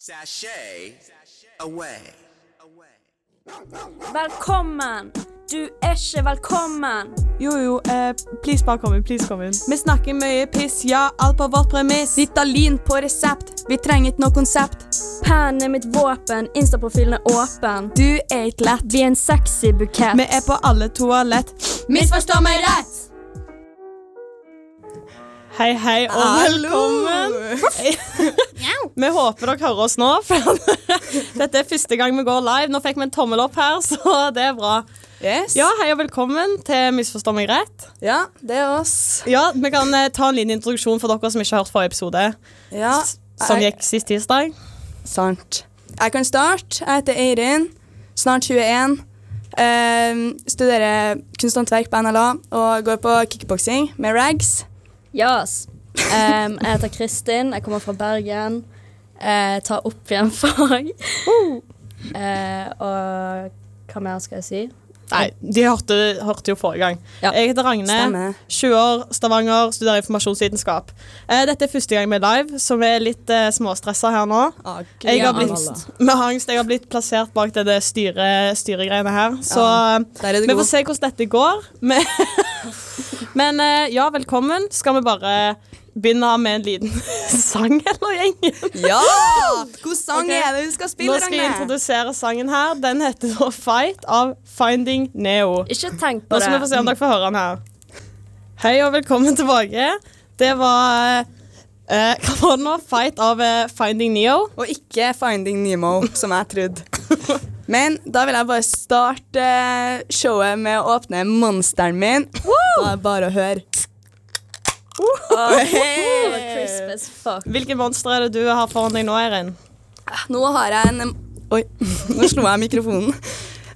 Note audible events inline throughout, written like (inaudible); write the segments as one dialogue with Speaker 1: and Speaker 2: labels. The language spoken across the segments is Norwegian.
Speaker 1: Sashay away.
Speaker 2: Velkommen! Du er ikke velkommen.
Speaker 3: Jo, jo, eh, please bare kom inn, please kom inn. Vi snakker mye piss, ja, alt på vårt premiss.
Speaker 2: Ritalin på resept. Vi trenger ikke noe konsept. Pennen er mitt våpen. Instaprofilen er åpen. Du er ikke lett. Vi er en sexy bukett.
Speaker 3: Vi er på alle toalett.
Speaker 2: Misforstå meg rett!
Speaker 3: Hei, hei, og
Speaker 4: Ah,
Speaker 3: velkommen. Vi håper dere hører oss nå, (laughs) for dette er første gang vi går live. Nå fikk vi en tommel opp her, så det er bra.
Speaker 4: Yes.
Speaker 3: Ja, hei og velkommen til Misforstå meg rett.
Speaker 4: Ja, det er oss.
Speaker 3: Ja, vi kan eh, ta en liten introduksjon for dere som ikke har hørt forrige episode,
Speaker 4: Ja, eh,
Speaker 3: som
Speaker 4: jeg-
Speaker 3: gikk sist tirsdag.
Speaker 4: Sant. Jeg kan starte. Jeg heter Eirin, snart 21. eh, studerer kunst og håndverk på NLA og går på kickboksing med rags.
Speaker 2: Yes. Em, jeg heter Kristin. Jeg kommer fra Bergen. Jeg tar opp igjen (laughs) fag. Eh, og hva mer skal jeg si?
Speaker 3: Nei, de hørte, hørte jo forrige gang.
Speaker 2: Ja.
Speaker 3: Jeg heter Ragne.
Speaker 4: Stemmer.
Speaker 3: 20 år, Stavanger, studerer informasjonsvitenskap. Eh, dette er første gang vi er live, så vi er litt eh, småstressa her nå.
Speaker 4: Ah,
Speaker 3: Jeg har
Speaker 2: Ja,
Speaker 3: blitt, med angst, jeg har blitt plassert bak det der styre, styregreiene her, så eh,
Speaker 4: Der er det
Speaker 3: vi
Speaker 4: god.
Speaker 3: får se hvordan dette går. Men, (laughs) men eh, ja, velkommen. Skal vi bare begynne med en liten (laughs) sang, eller, gjengen? (laughs)
Speaker 4: Ja! God sang
Speaker 3: Ok.
Speaker 4: er det hun skal spille,
Speaker 3: Nå skal jeg introdusere sangen her. Den heter da Fight av Finding Neo.
Speaker 2: Ikke tenk på
Speaker 3: Nå skal vi få
Speaker 2: det.
Speaker 3: se om dere får høre den her. Hei og velkommen tilbake. Det var eh, (laughs) Hva var det nå? Fight av eh, Finding Neo.
Speaker 4: Og ikke Finding Nemo, som jeg trodde. Men da vil jeg bare starte eh, showet med å åpne monsteren min. Da er det bare å høre.
Speaker 2: Det var crisp as fuck.
Speaker 3: Hvilke monstre er det du har foran deg nå, Eirin?
Speaker 4: Nå har jeg en Oi, nå slo jeg mikrofonen.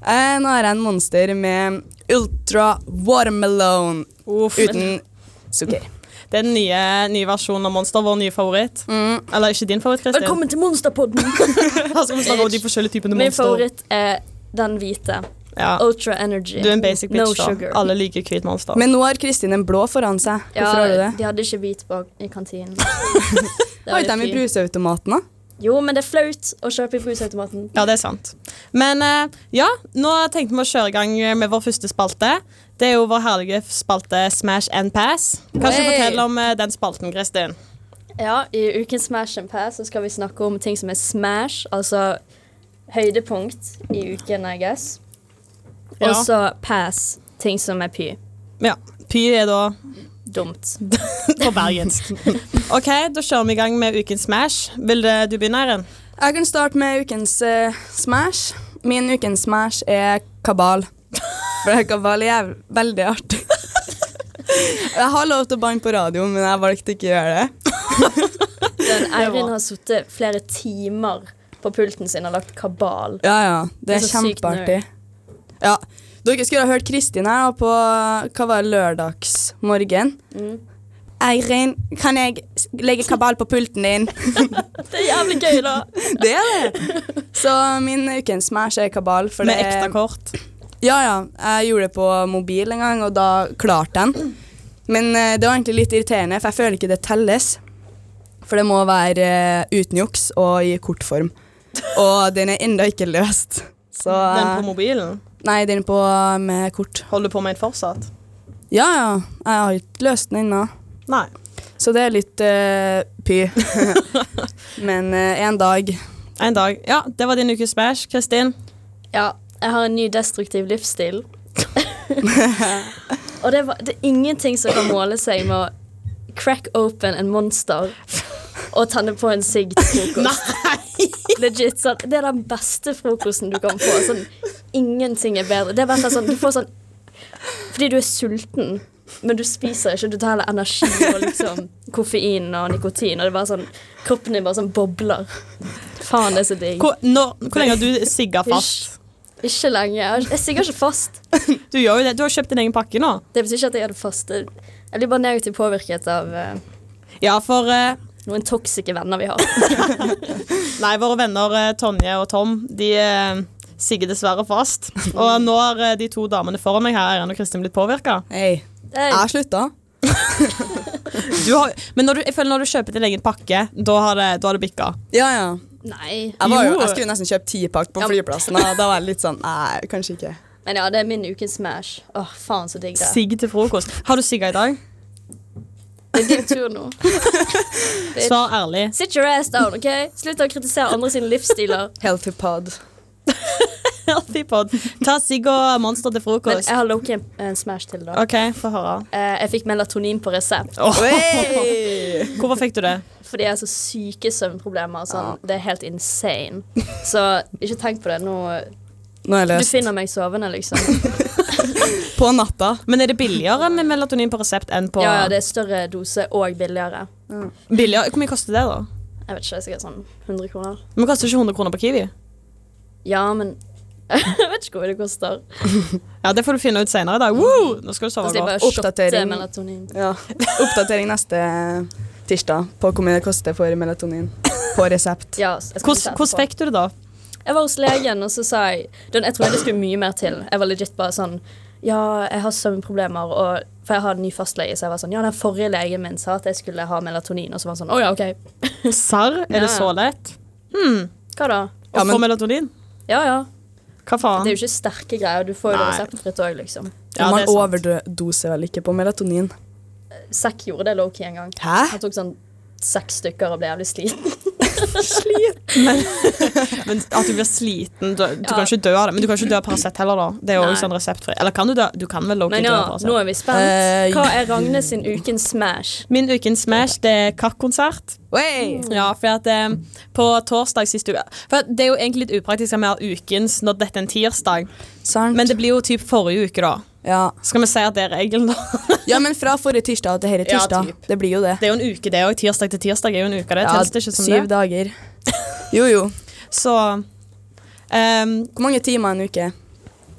Speaker 4: Eh, Nå har jeg en monster med Ultra Watermelon uten sukker.
Speaker 3: Det er den nye, nye versjonen av Monster, vår nye favoritt.
Speaker 4: Mm.
Speaker 3: Eller ikke din favoritt, Kristin.
Speaker 2: Velkommen til Monsterpodden.
Speaker 3: Her skal vi snakke om de forskjellige typene
Speaker 2: Min
Speaker 3: monster.
Speaker 2: favoritt er den hvite.
Speaker 3: Ja.
Speaker 2: Ultra Energy.
Speaker 3: Du er en basic
Speaker 2: no
Speaker 3: bitch, da.
Speaker 2: Sugar.
Speaker 3: Alle liker hvit monster.
Speaker 4: Men nå har Kristin en blå foran seg. Hvorfor
Speaker 2: ja,
Speaker 4: har du det?
Speaker 2: De hadde ikke hvit bak i
Speaker 3: (laughs)
Speaker 2: kantinen. Det var
Speaker 4: Har ikke de i
Speaker 2: litt fint.
Speaker 4: bruseautomaten, da?
Speaker 2: Jo, men det er flaut å kjøpe i brusautomaten.
Speaker 3: Ja, det er sant. Men eh, ja, nå tenkte vi å kjøre i gang med vår første spalte. Det er jo vår herlige spalte Smash and Pass. Kan ikke du
Speaker 4: Hey!
Speaker 3: fortelle om eh, den spalten, Kristin?
Speaker 2: Ja, I ukens Smash and Pass så skal vi snakke om ting som er smash, altså høydepunkt i uken, I guess.
Speaker 3: Ja.
Speaker 2: Og så pass, ting som er py.
Speaker 3: Ja. Py er da
Speaker 2: Dumt.
Speaker 3: (laughs) på bergensk. (laughs) OK, da kjører vi i gang med ukens Smash. Vil eh, du begynne, Eirin?
Speaker 4: Jeg kan starte med ukens eh, smash. Min ukens smash er kabal. For kabal er jæv- veldig (laughs) artig. Jeg har lov til å banne på radio, men jeg valgte ikke å gjøre det.
Speaker 2: Den Eirin har sittet flere timer på pulten sin og lagt kabal.
Speaker 4: Ja, ja. Det
Speaker 2: Det
Speaker 4: er
Speaker 2: er så sykt
Speaker 4: kjempeartig. Ja. Dere skulle ha hørt Kristin her da på hva var det, lørdagsmorgen. Eirin, kan jeg s- legge kabal på pulten din?
Speaker 2: Det er jævlig gøy, da!
Speaker 4: (laughs) Det er det. Så min ukens smash er kabal. For
Speaker 3: Med
Speaker 4: det er-
Speaker 3: ekte kort.
Speaker 4: Ja, ja. Jeg gjorde det på mobil en gang, og da klarte jeg den. Men eh, det var egentlig litt irriterende, for jeg føler ikke det telles. For det må være eh, uten juks og i kortform. Og den er ennå ikke løst. Så
Speaker 3: Den på
Speaker 4: eh,
Speaker 3: mobilen.
Speaker 4: Nei, den på eh, med kort.
Speaker 3: Holder du på med den fortsatt?
Speaker 4: Ja, ja. Jeg har ikke løst den ennå.
Speaker 3: Nei.
Speaker 4: Så det er litt eh, py. Men eh, en dag
Speaker 3: En dag. Ja, det var din ukes Smash. Kristin?
Speaker 2: Ja, jeg har en ny destruktiv livsstil. og det, var, det er ingenting som kan måle seg med å crack open en monster og tenne på en sigg til frokost. Legit, sånn, det er den beste frokosten du kan få. Sånn, ingenting er bedre. Det er bare sånn, du får sånn Fordi du er sulten, men du spiser ikke. Du tar heller energi og liksom koffein og nikotin, og det er bare sånn Kroppen din bare sånn bobler. Faen, det er så digg.
Speaker 3: Hvor, når, hvor lenge har (laughs) du sigga fast?
Speaker 2: Ikke lenge. Jeg har- jeg sigger ikke fast.
Speaker 3: Du, gjør jo det. du har kjøpt din egen pakke nå.
Speaker 2: Det betyr ikke at jeg gjør det fast. Jeg blir bare negativt påvirket av eh,
Speaker 3: Ja, for eh,
Speaker 2: noen toksike venner vi har.
Speaker 3: Nei, våre venner eh, Tonje og Tom De eh, sigger dessverre fast. (laughs) Og nå har eh, de to damene foran meg her Eirin og Kristin blitt påvirka.
Speaker 4: Hei, jeg
Speaker 2: Hey,
Speaker 4: har slutta.
Speaker 3: Men når du, jeg føler når du kjøper din egen pakke, da har det, da har det bikka.
Speaker 4: Ja, ja.
Speaker 2: Nei.
Speaker 4: Jeg, var jo,
Speaker 3: Jo.
Speaker 4: jeg skulle nesten kjøpt tipakk på
Speaker 2: Ja.
Speaker 4: flyplassen. og Da var jeg litt sånn Nei, kanskje ikke.
Speaker 2: Men ja, det er min ukens smash. Åh, faen så digg det er.
Speaker 3: Sigg til frokost. Har du sigga i dag?
Speaker 2: Det er din tur
Speaker 3: (laughs)
Speaker 2: nå. Bitch.
Speaker 3: Svar ærlig. (laughs)
Speaker 2: Sit your ass down, OK? Slutt å kritisere andre sine livsstiler.
Speaker 4: Healthy pod.
Speaker 3: Healthy pod. Ta sigg og monster til
Speaker 2: Men
Speaker 3: frokost.
Speaker 2: jeg har Loki en, en smash til, da.
Speaker 3: OK, få høre.
Speaker 2: Eh, jeg fikk melatonin på resept
Speaker 4: Oi!
Speaker 3: Hvorfor fikk du det?
Speaker 2: fordi jeg har så syke søvnproblemer. Sånn. Det er helt insane. Så ikke tenk på det. Nå,
Speaker 4: Nå er jeg
Speaker 2: du
Speaker 4: løst.
Speaker 2: finner meg sovende, liksom.
Speaker 4: På natta.
Speaker 3: Men er det billigere med melatonin på resept enn på
Speaker 2: Ja, ja, det er større dose og billigere.
Speaker 3: billigere? Hvor mye koster det, da?
Speaker 2: Jeg vet ikke, det er sikkert sånn 100 kroner.
Speaker 3: Men koster ikke 100 kroner på Kiwi?
Speaker 2: Ja, men (laughs) jeg vet ikke hvor mye det koster.
Speaker 3: Ja, Det får du finne ut senere i dag. Woo! Nå skal du
Speaker 2: Mm. Da
Speaker 3: sove
Speaker 2: slipper
Speaker 3: godt.
Speaker 2: jeg å shotte
Speaker 4: Oppdatering.
Speaker 2: melatonin.
Speaker 4: Ja. Oppdatering neste tirsdag på hvor mye det koster for melatonin på resept.
Speaker 2: Ja, jeg skal
Speaker 3: Hvordan
Speaker 2: betale
Speaker 3: hvordan
Speaker 2: etterpå.
Speaker 3: fikk du det, da?
Speaker 2: Jeg var hos legen, og så sa jeg den, Jeg trodde det skulle mye mer til. Jeg var legit bare sånn Ja, jeg har søvnproblemer, og, for jeg har en ny fastlege, så jeg var sånn Ja, den forrige legen min sa at jeg skulle ha melatonin, og så var han sånn Å ja, OK.
Speaker 3: Serr? Er
Speaker 2: Ja.
Speaker 3: det så lett?
Speaker 2: Hva da?
Speaker 4: Ja,
Speaker 3: Å
Speaker 4: men-
Speaker 3: Hmm. få melatonin?
Speaker 2: Ja ja.
Speaker 3: Hva faen?
Speaker 2: Det er jo ikke sterke greier. Du får jo det
Speaker 3: Nei.
Speaker 2: reseptfritt òg, liksom.
Speaker 3: Ja, det
Speaker 4: Man
Speaker 3: er sant.
Speaker 4: overdoser vel ikke på melatonin?
Speaker 2: Zack gjorde det lowkey en gang.
Speaker 4: Hæ?
Speaker 2: Han tok sånn seks stykker og ble jævlig sliten.
Speaker 3: Men at du blir sliten Du, du
Speaker 2: Ja.
Speaker 3: kan ikke dø av det. Men du kan ikke dø av Paracet heller, da. Det er jo
Speaker 2: Nei.
Speaker 3: også sånn reseptfri. Eller kan du dø? Du kan vel Loki
Speaker 2: Men
Speaker 3: dø
Speaker 2: ja, nå
Speaker 3: av Paracet.
Speaker 2: er vi spent.
Speaker 4: Eh,
Speaker 2: Hva er Ragne sin ukens smash?
Speaker 3: Min ukens smash det er kakk-konsert.
Speaker 4: Oi!
Speaker 3: Ja, for at eh, På torsdag sist uke For at Det er jo egentlig litt upraktisk at vi har ukens når dette er en tirsdag,
Speaker 4: Sant.
Speaker 3: men det blir jo typ forrige uke, da.
Speaker 4: ja.
Speaker 3: Skal vi si at det er regelen, da?
Speaker 4: ja, men fra forrige tirsdag til denne
Speaker 3: Ja,
Speaker 4: tirsdag.
Speaker 3: typ.
Speaker 4: det blir jo det.
Speaker 3: Det er jo en uke, det òg. Tirsdag til tirsdag er jo en uke. Det telles det ikke som
Speaker 4: syv
Speaker 3: det.
Speaker 4: dager. Jo, jo.
Speaker 3: Så ehm,
Speaker 4: Hvor mange timer en uke?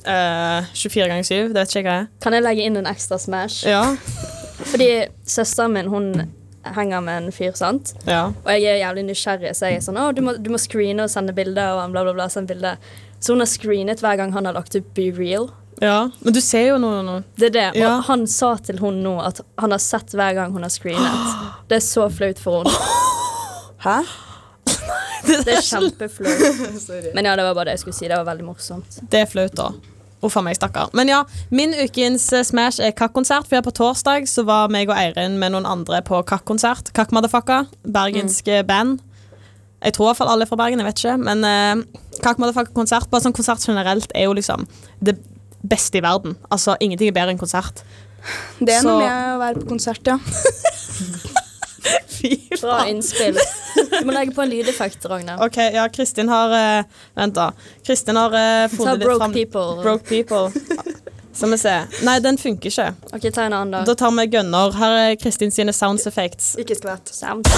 Speaker 3: eh, 24 ganger 7, det vet ikke jeg hva er.
Speaker 2: Kan jeg legge inn en ekstra smash?
Speaker 3: Ja.
Speaker 2: Fordi søsteren min, hun henger med en fyr, sant?
Speaker 3: ja.
Speaker 2: Og jeg er jævlig nysgjerrig, så jeg er sånn Å, du må, du må screene og sende bilder, og han bla, bla, bla. sende bilder. Så hun har screenet hver gang han har lagt ut Be Real.
Speaker 3: Ja, men du ser jo noe nå.
Speaker 2: Det er det.
Speaker 3: Ja.
Speaker 2: Og han sa til hun nå at han har sett hver gang hun har screenet. Det er så flaut for hun.
Speaker 4: Hæ?
Speaker 2: (laughs) Det er kjempeflaut.
Speaker 4: Sorry.
Speaker 2: Men ja, det var bare det jeg skulle si. Det var veldig morsomt.
Speaker 3: Det er flaut, da. Uff a meg, stakkar. Men ja, min ukens eh, Smash er kakk-konsert. For på torsdag så var meg og Eirin med noen andre på kakk-konsert. Kakk Motherfucka, bergensk eh, band. Jeg tror i hvert fall alle er fra Bergen, jeg vet ikke. Men eh, Kakk Motherfucka-konsert, bare sånn konsert generelt, er jo liksom det beste i verden. Altså, ingenting er bedre enn konsert.
Speaker 4: Det er
Speaker 3: Så-
Speaker 4: noe med å være på konsert, ja.
Speaker 3: Fy
Speaker 2: Bra innspill. Du må legge på en lydeffekt, Ragnar.
Speaker 3: OK, ja, Kristin har eh, Vent, da. Kristin har uh,
Speaker 2: Ta
Speaker 3: funnet litt
Speaker 2: Broke
Speaker 3: fram
Speaker 2: People.
Speaker 3: Broke (laughs) people. Skal vi se. Nei, den funker ikke.
Speaker 2: OK, ta en annen,
Speaker 3: Da
Speaker 2: da.
Speaker 3: tar vi gønner. Her er Kristin sine sounds effects.
Speaker 4: Ikke skvett.
Speaker 2: Sound.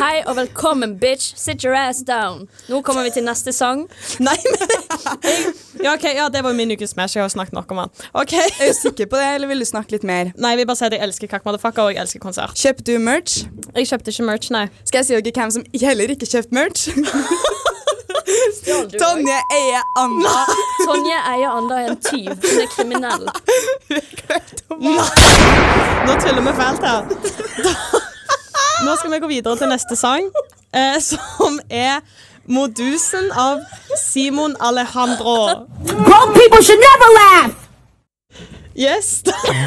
Speaker 2: Hei og velkommen, bitch. Sit your ass down. Nå kommer vi til neste sang.
Speaker 3: Nei, men ja, ok, ja, det var jo min ukes smash. Jeg har snakket nok om han. Ok.
Speaker 4: Er du sikker på det, eller vil du snakke litt mer?
Speaker 3: Nei, jeg vil bare si at jeg elsker Kakk Motherfucker, og jeg elsker konsert.
Speaker 4: Kjøpte du merch?
Speaker 3: Jeg kjøpte ikke merch, nei.
Speaker 4: Skal jeg si dere hvem som heller ikke kjøpte merch?
Speaker 2: Tonje
Speaker 4: Tonje Eie Anna.
Speaker 2: Tonje eier Anda er en tyv. Hun er
Speaker 3: (laughs)
Speaker 2: kriminell.
Speaker 3: Nå tuller vi fælt her. Da- Nå skal vi gå videre til neste sang, eh, som er Modusen av Simon Alejandro.
Speaker 5: Grown people should never laugh.
Speaker 3: Yes! (laughs)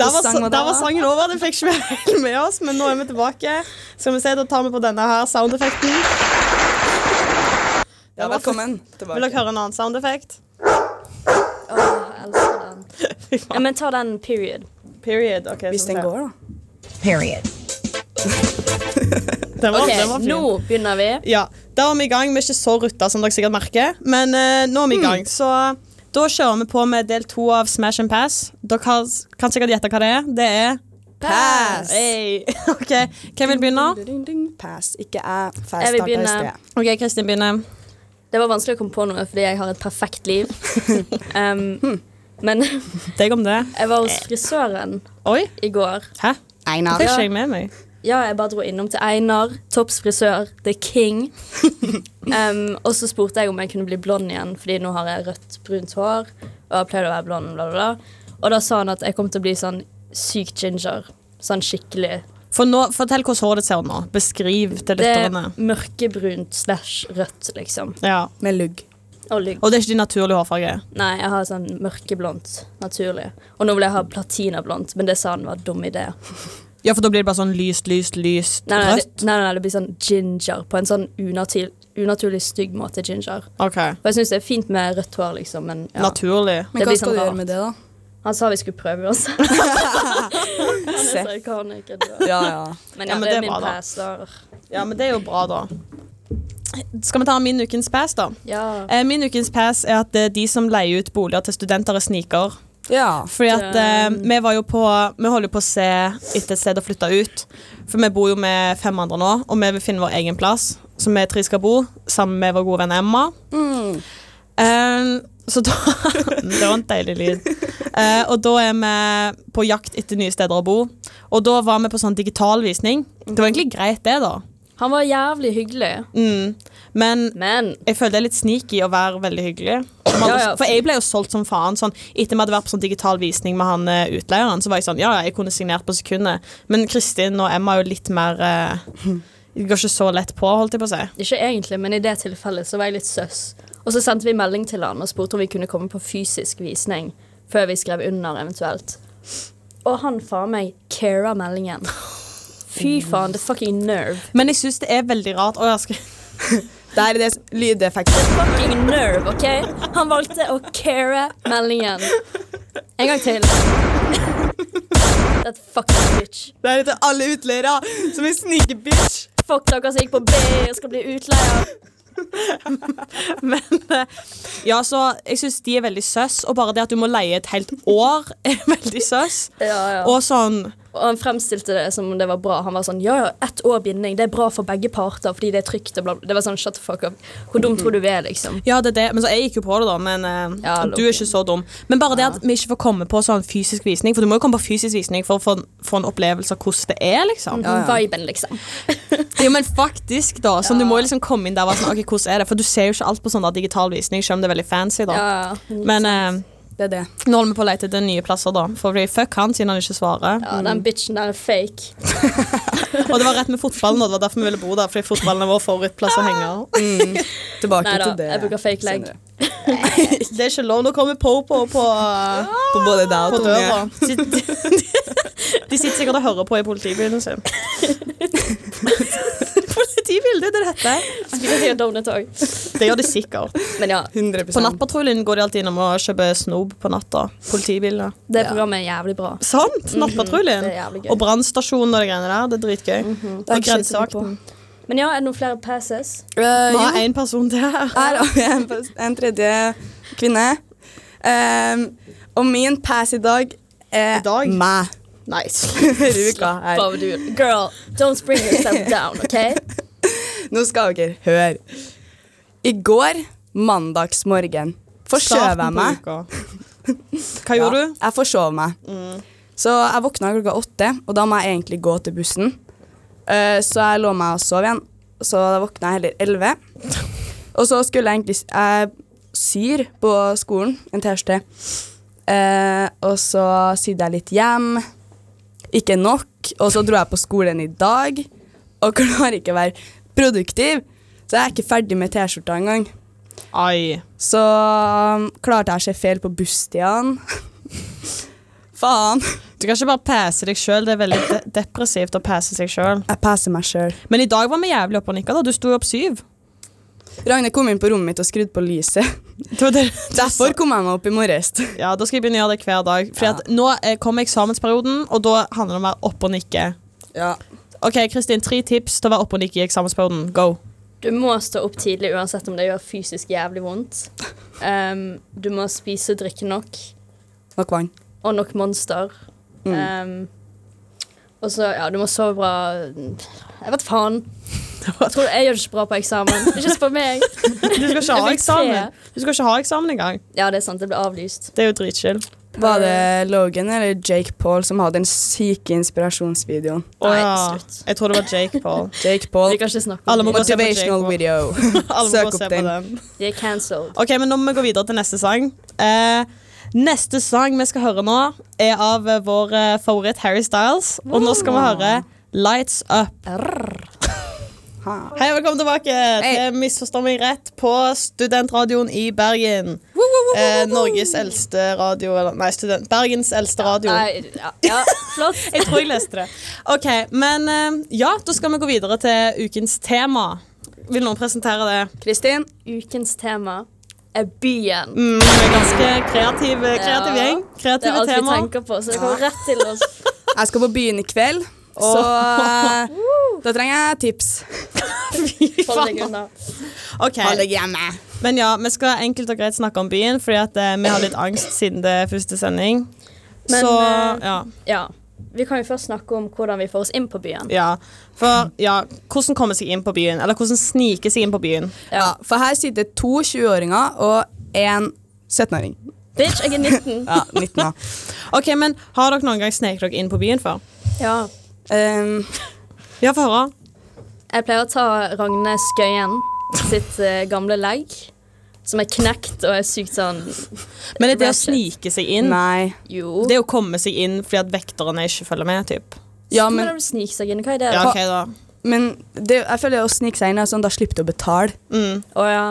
Speaker 3: Da, da, var,
Speaker 4: sang var det,
Speaker 3: da var
Speaker 4: da?
Speaker 3: sangen over. Det fikk ikke vi helt med oss, men nå er vi tilbake. Skal vi se, Da tar vi på denne her soundeffekten.
Speaker 4: Ja, velkommen
Speaker 3: Vil
Speaker 4: tilbake.
Speaker 3: dere høre en annen soundeffekt?
Speaker 2: Åh, jeg elsker den. Ja, men ta den period.
Speaker 3: Period. ok,
Speaker 4: Hvis
Speaker 3: skal vi
Speaker 4: den
Speaker 3: se.
Speaker 4: går, da.
Speaker 5: Period.
Speaker 3: Den var,
Speaker 2: OK,
Speaker 3: den var fin.
Speaker 2: nå begynner vi.
Speaker 3: Ja, da var vi i gang. Vi er ikke så rutta som dere sikkert merker, men eh,
Speaker 2: Hmm.
Speaker 3: nå er vi i gang. Så da kjører vi på med del to av Smash and Pass. Dere har, kan sikkert gjette hva det er. Det er
Speaker 4: Pass!
Speaker 3: hey. (laughs) OK, hvem vil begynne?
Speaker 4: Ding, ding, ding. Pass. Ikke jeg. Fast
Speaker 2: Jeg vil
Speaker 4: starta i
Speaker 2: begynne.
Speaker 4: sted.
Speaker 3: OK, Kristin begynner.
Speaker 2: Det var vanskelig å komme på noe fordi jeg har et perfekt
Speaker 3: (laughs)
Speaker 2: liv.
Speaker 3: Hmm.
Speaker 2: Um, men (laughs) jeg
Speaker 3: Deg om det.
Speaker 2: var hos frisøren
Speaker 3: Oi.
Speaker 2: i går.
Speaker 3: Hæ?
Speaker 4: Einar.
Speaker 3: Det fikk ikke jeg med meg.
Speaker 2: Ja, jeg bare dro innom til Einar, Topps frisør, the (laughs) king. Um, og så spurte jeg om jeg kunne bli blond igjen, fordi nå har jeg rødt, brunt hår. Og jeg pleide å være blond, bla, bla, bla. Og da sa han at jeg kom til å bli sånn sykt ginger. Sånn skikkelig
Speaker 3: For nå, fortell hvordan håret ditt ser ut nå. Beskriv til
Speaker 2: Det er
Speaker 3: lytterne.
Speaker 2: mørkebrunt slash rødt, liksom.
Speaker 3: Ja.
Speaker 4: Med lugg.
Speaker 2: Og lugg.
Speaker 3: Og det er ikke din naturlige hårfarge.
Speaker 2: Nei, jeg har sånn mørkeblondt, naturlig. Og nå vil jeg ha platinablondt, men det sa han var dum idé.
Speaker 3: Ja, for da blir det bare sånn lyst, lyst, lyst
Speaker 2: Nei, nei,
Speaker 3: rødt.
Speaker 2: det- nei, nei, det blir sånn ginger, på en sånn unaturlig, unaturlig stygg måte ginger.
Speaker 3: Ok,
Speaker 2: Og jeg syns det er fint med rødt hår, liksom, men ja.
Speaker 3: Naturlig.
Speaker 2: Det
Speaker 4: Men
Speaker 2: blir
Speaker 4: hva skal
Speaker 2: sånn
Speaker 4: du
Speaker 2: rart.
Speaker 4: gjøre med det, (laughs) da?
Speaker 2: Han sa vi skulle prøve oss.
Speaker 3: (laughs)
Speaker 2: Han er så ikonik, jeg dør.
Speaker 4: Ja, ja.
Speaker 2: Men
Speaker 3: Ja,
Speaker 2: ja,
Speaker 3: men
Speaker 2: det
Speaker 3: det
Speaker 2: er min
Speaker 3: var da.
Speaker 2: pass, da.
Speaker 3: Ja, men det er jo bra, da. Skal vi ta min ukens pass, da?
Speaker 2: Ja.
Speaker 3: Eh, Min ukens pass er at det er de som leier ut boliger til studenter, er sniker.
Speaker 4: ja.
Speaker 3: Fordi at eh, vi var jo på Vi holder jo på å se etter et sted å flytte ut. For vi bor jo med fem andre nå, og vi vil finne vår egen plass. Så vi tre skal bo sammen med vår gode venn Emma. Eh, så da (laughs) Det var en deilig lyd. Eh, og da er vi på jakt etter nye steder å bo. Og da var vi på sånn digital visning. Det var egentlig greit, det, da. Mm.
Speaker 2: Han var jævlig hyggelig,
Speaker 3: Men
Speaker 2: men
Speaker 3: jeg føler det er litt sneaky å være veldig hyggelig. Man,
Speaker 2: Ja, ja.
Speaker 3: For jeg ble jo solgt som faen. Sånn, etter vi hadde vært på sånn digital visning med han eh, utleieren, så var jeg sånn Ja, ja, jeg kunne signert på sekundet. Men Kristin og Emma er jo litt mer eh, Det går ikke så lett på, holdt jeg på å si.
Speaker 2: Ikke egentlig, men i det tilfellet så var jeg litt søs. Og så sendte vi melding til han og spurte om vi kunne komme på fysisk visning før vi skrev under eventuelt. Og han faen meg cara meldingen. Fy faen, det er fucking nerve.
Speaker 3: Men jeg syns det er veldig rart. Å, jeg skal (laughs)
Speaker 4: Det er det lydeffekten.
Speaker 2: Fucking nerve, OK? Han valgte å care meldingen. En gang til. That fucking bitch.
Speaker 4: Det er til alle utleiere som er snikebitch.
Speaker 2: Fuck dere som gikk på B og skal bli utleier.
Speaker 3: (laughs) Men eh, ja, så jeg syns de er veldig søs, og bare det at du må leie et helt år, er veldig søs.
Speaker 2: Ja, ja.
Speaker 3: Og sånn
Speaker 2: Og han fremstilte det som om det var bra. Han var sånn ja, ja, ett år binding, det er bra for begge parter fordi det er trygt. Og bla, bla. Det var sånn shut the fuck up. Hvor dum tror du vi er, liksom?
Speaker 3: Ja, det er det. Men så jeg gikk jo på det, da. Men eh,
Speaker 2: Ja,
Speaker 3: du er ikke så dum. Men bare det at vi ikke får komme på sånn fysisk visning, for du må jo komme på fysisk visning for å få en, få en opplevelse av hvordan det er, liksom.
Speaker 2: Viben, liksom.
Speaker 3: Jo, men faktisk, da. Sånn, Du må jo liksom komme inn der og være sånn, ok, hvordan er det? For du ser jo ikke alt på sånn der digital visning, selv om det er veldig fancy, da.
Speaker 2: Ja,
Speaker 3: Men eh,
Speaker 4: Det er det.
Speaker 3: nå holder vi på å lete etter nye plasser, da. For fordi fuck han, siden han ikke svarer.
Speaker 2: ja, den bitchen der er fake.
Speaker 3: Og det var rett med fotballen, og det var derfor vi ville bo der, fordi fotballen er vår favorittplass å henge.
Speaker 2: (laughs)
Speaker 4: Tilbake
Speaker 2: Nei da,
Speaker 4: til det.
Speaker 2: jeg bruker fake leg. (laughs)
Speaker 4: senere.
Speaker 3: Det er ikke lov, nå kommer Popo på,
Speaker 4: På både deg
Speaker 3: (laughs) på
Speaker 4: og
Speaker 3: døra.
Speaker 4: Tonje.
Speaker 3: (laughs) De sitter sikkert og hører på i politibilen (laughs) sin. Politibil, det er det det heter.
Speaker 2: Spiller Theo Donut òg.
Speaker 3: Det gjør de sikkert.
Speaker 2: Men ja,
Speaker 4: 100
Speaker 3: På nattpatruljen går de alltid innom og kjøper snob på natta. Politibilene.
Speaker 2: det programmet er jævlig bra.
Speaker 3: Sant! Nattpatruljen.
Speaker 2: Det er jævlig gøy.
Speaker 3: Og brannstasjonen og de greiene der. Mhm. Det er dritgøy.
Speaker 4: Det er
Speaker 3: Og
Speaker 4: ikke så mye
Speaker 3: grensevakten.
Speaker 2: Men ja, er det noen flere passes?
Speaker 4: Eh,
Speaker 3: Vi
Speaker 4: jo,
Speaker 3: har én person til her.
Speaker 4: her har vi en, en tredje kvinne. Ehm, og min pass i dag er
Speaker 3: I dag?
Speaker 4: meg.
Speaker 3: (laughs) (laughs) Nice.
Speaker 4: Ruka her.
Speaker 2: Bob, dude. Girl, don't bring yourself down, OK?
Speaker 4: (laughs) Nå skal dere høre. I går, mandagsmorgen, forskjøv jeg
Speaker 3: Starten på
Speaker 4: meg.
Speaker 3: uka. Hva gjorde du? Mm.
Speaker 4: Ja, jeg forsov meg. Så jeg våkna klokka åtte, og da må jeg egentlig gå til bussen. Eh, så jeg lå meg og sov igjen, så da våkna jeg heller
Speaker 3: (laughs)
Speaker 4: elleve. Og så skulle jeg egentlig s- Jeg syr på skolen en T-skjorte. Eh, og så sydde jeg litt hjem. Ikke nok. Og så dro jeg på skolen i dag og klarer ikke å være produktiv. Så jeg er ikke ferdig med T-skjorta engang.
Speaker 3: Ai.
Speaker 4: Så um, klarte jeg å se feil på busstidene. (laughs) Faen.
Speaker 3: Du kan ikke bare passe deg sjøl. Det er veldig de depressivt å passe seg sjøl.
Speaker 4: Jeg passer meg sjøl.
Speaker 3: Men i dag var vi jævlig oppe og nikka. da. Du sto jo opp syv.
Speaker 4: Ragne kom inn på rommet mitt og skrudde på lyset. (laughs)
Speaker 3: Det var det.
Speaker 4: Derfor kom jeg meg opp i morges.
Speaker 3: (laughs) Ja, da skal jeg begynne å gjøre det hver dag. Fordi at nå eh, kommer eksamensperioden, og da handler det om å være oppe og nikke.
Speaker 4: Ja.
Speaker 3: Ok, Kristin, tre tips til å være oppe og nikke i eksamensperioden. Go.
Speaker 2: Du må stå opp tidlig uansett om det gjør fysisk jævlig vondt. Um, du må spise og drikke nok.
Speaker 4: Nok vann. Mm.
Speaker 2: og nok monster.
Speaker 3: Mm.
Speaker 2: Um, og så, ja, du må sove bra. Jeg vet faen. Jeg tror jeg gjør det ikke bra på eksamen. Det er ikke for meg.
Speaker 3: (laughs)
Speaker 2: Jeg
Speaker 3: Du skal ikke ha
Speaker 2: fikk tre.
Speaker 3: eksamen Du skal ikke ha eksamen engang.
Speaker 2: Ja, det er sant. Det ble avlyst.
Speaker 3: Det er jo dritchill.
Speaker 4: Var det Logan eller Jake Paul som hadde den syke inspirasjonsvideoen?
Speaker 3: Å
Speaker 2: Nei,
Speaker 3: ja.
Speaker 2: slutt.
Speaker 3: Jeg tror det var Jake Paul.
Speaker 4: Jake
Speaker 2: Vi
Speaker 4: Paul.
Speaker 2: kan ikke snakke
Speaker 3: Alle
Speaker 2: om
Speaker 3: må
Speaker 2: det.
Speaker 3: gå- se på Jake
Speaker 4: Motivational
Speaker 3: Paul.
Speaker 4: video.
Speaker 3: (laughs) Alle må
Speaker 4: Søk
Speaker 3: se
Speaker 4: opp
Speaker 3: på
Speaker 4: den.
Speaker 2: De er cancelled.
Speaker 3: Ok, men Nå må vi gå videre til neste sang. Eh, neste sang vi skal høre nå, er av eh, vår eh, favoritt Harry Styles. Og nå skal vi høre Lights up. Hei og velkommen tilbake
Speaker 4: Hei.
Speaker 3: til Misforstå meg rett på studentradioen i Bergen. Eh, Norges eldste radio eller, Nei, student, Bergens eldste radio.
Speaker 2: Nei, ja, ja, flott.
Speaker 3: (laughs) Jeg tror jeg leste det. OK, men eh, ja, da skal vi gå videre til ukens tema. Vil noen presentere det?
Speaker 4: Kristin,
Speaker 2: Ukens tema er byen.
Speaker 3: Mm, vi er ganske kreativ, kreativ
Speaker 2: Ja.
Speaker 3: gjeng.
Speaker 2: Det er
Speaker 3: Kreative
Speaker 2: alt vi
Speaker 3: temaer.
Speaker 2: tenker på, så det kommer rett til (laughs) oss.
Speaker 4: jeg skal på byen i kveld, og eh, da trenger jeg tips.
Speaker 2: Hold deg unna.
Speaker 3: Ok,
Speaker 4: Hold deg hjemme.
Speaker 3: men ja, Vi skal enkelt og greit snakke om byen, fordi at eh, vi har litt angst siden det er første sending.
Speaker 2: Men,
Speaker 3: Så
Speaker 2: eh,
Speaker 3: ja,
Speaker 2: Ja. Vi kan jo først snakke om hvordan vi får oss inn på byen.
Speaker 3: ja. For ja, hvordan komme seg inn på byen? Eller hvordan snike seg inn på byen?
Speaker 4: Ja, for her sitter to 20-åringer og en 17-åring.
Speaker 2: Bitch, jeg er 19.
Speaker 4: Ja, 19 da.
Speaker 3: Ok, men Har dere noen gang sneket dere inn på byen før?
Speaker 2: (laughs) Ja.
Speaker 4: Um,
Speaker 3: Ja, få høre.
Speaker 2: Jeg pleier å ta Ragne Skøyen sitt eh, gamle legg, som er knekt og er sykt sånn
Speaker 3: Men det er det å
Speaker 2: Ratchet.
Speaker 3: snike seg inn.
Speaker 4: nei.
Speaker 2: Jo.
Speaker 3: Det er å komme seg inn fordi at vekterne ikke følger med. Typ.
Speaker 4: Ja,
Speaker 2: men,
Speaker 4: men,
Speaker 2: når du sniker seg inn, hva er det?
Speaker 3: Ja, ok da
Speaker 4: men det, jeg føler å snike seg inn er sånn, da slipper du å betale.
Speaker 2: Å ja.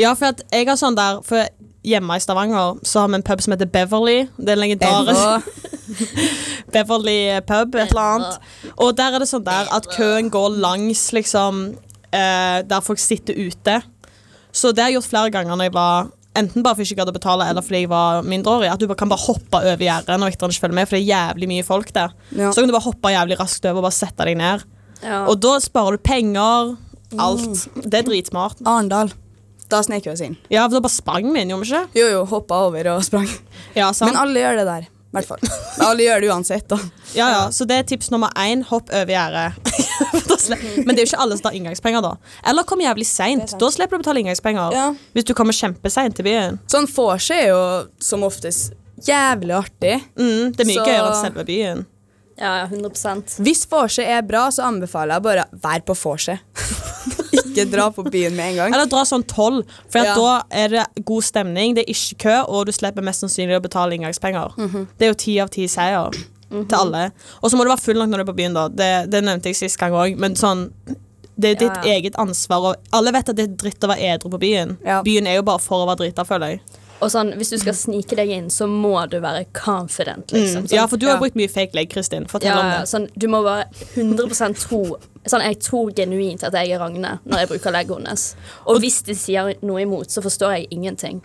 Speaker 3: Ja, for at jeg har sånn der For hjemme i Stavanger så har vi en pub som heter Beverly. Det er en legendarisk
Speaker 4: Og,
Speaker 3: Beverly pub, et eller annet. Og der er det sånn der at køen går langs liksom eh, Der folk sitter ute. Så det har jeg gjort flere ganger når jeg var Enten bare fordi jeg ikke hadde betale, eller fordi jeg var mindreårig. At du bare kan bare hoppe over gjerdet når vekterne ikke følger med, for det er jævlig mye folk der.
Speaker 4: Ja.
Speaker 3: Så kan du bare hoppe jævlig raskt over og bare sette deg ned.
Speaker 2: ja.
Speaker 3: Og da sparer du penger. Alt. Det er dritsmart.
Speaker 4: Arendal. Da snek vi oss inn.
Speaker 3: Ja, for da bare sprang vi inn, gjorde vi ikke?
Speaker 4: Jo, jo, hoppa over og sprang.
Speaker 3: Ja, sant?
Speaker 4: Men alle gjør det der. I hvert fall. Men alle gjør det uansett, da.
Speaker 3: Ja, ja, så det er tips nummer én. Hopp over gjerdet. (laughs) Da slipp- Men det er jo ikke alle som tar inngangspenger, da. Eller kom jævlig seint. Da slipper du å betale inngangspenger.
Speaker 4: Ja.
Speaker 3: Hvis du kommer kjempeseint til byen.
Speaker 4: Sånn vorse er jo som oftest jævlig artig.
Speaker 3: Mm, det er mye
Speaker 4: Så-
Speaker 3: gøyere enn selve byen.
Speaker 2: ja, ja, 100
Speaker 4: Hvis vorse er bra, så anbefaler jeg bare vær på vorse. (laughs) Ikke dra på byen med en gang.
Speaker 3: Eller dra sånn tolv, for
Speaker 4: Ja.
Speaker 3: at da er det god stemning, det er ikke kø, og du slipper mest sannsynlig å betale inngangspenger.
Speaker 4: Mhm.
Speaker 3: Det er jo ti av ti seier til alle. Og så må du være full nok når du er på byen, da. Det, det nevnte jeg sist gang òg, men sånn det
Speaker 2: Ja,
Speaker 3: er ditt
Speaker 2: ja.
Speaker 3: eget ansvar. Og alle vet at det er dritt å være edru på byen.
Speaker 4: Ja.
Speaker 3: Byen er jo bare for å være drita, føler jeg.
Speaker 2: Og sånn, hvis du skal snike deg inn, så må du være confident, liksom. Sånn,
Speaker 3: Mm. Ja, for du har
Speaker 4: ja.
Speaker 3: brukt mye fake leg, Kristin. Fortell
Speaker 2: ja,
Speaker 3: om
Speaker 2: ja,
Speaker 3: det.
Speaker 2: sånn, du må være 100 tro Sånn, Jeg tror genuint at jeg er Ragne når jeg bruker legget hennes. Og hvis de sier noe imot, så forstår jeg ingenting.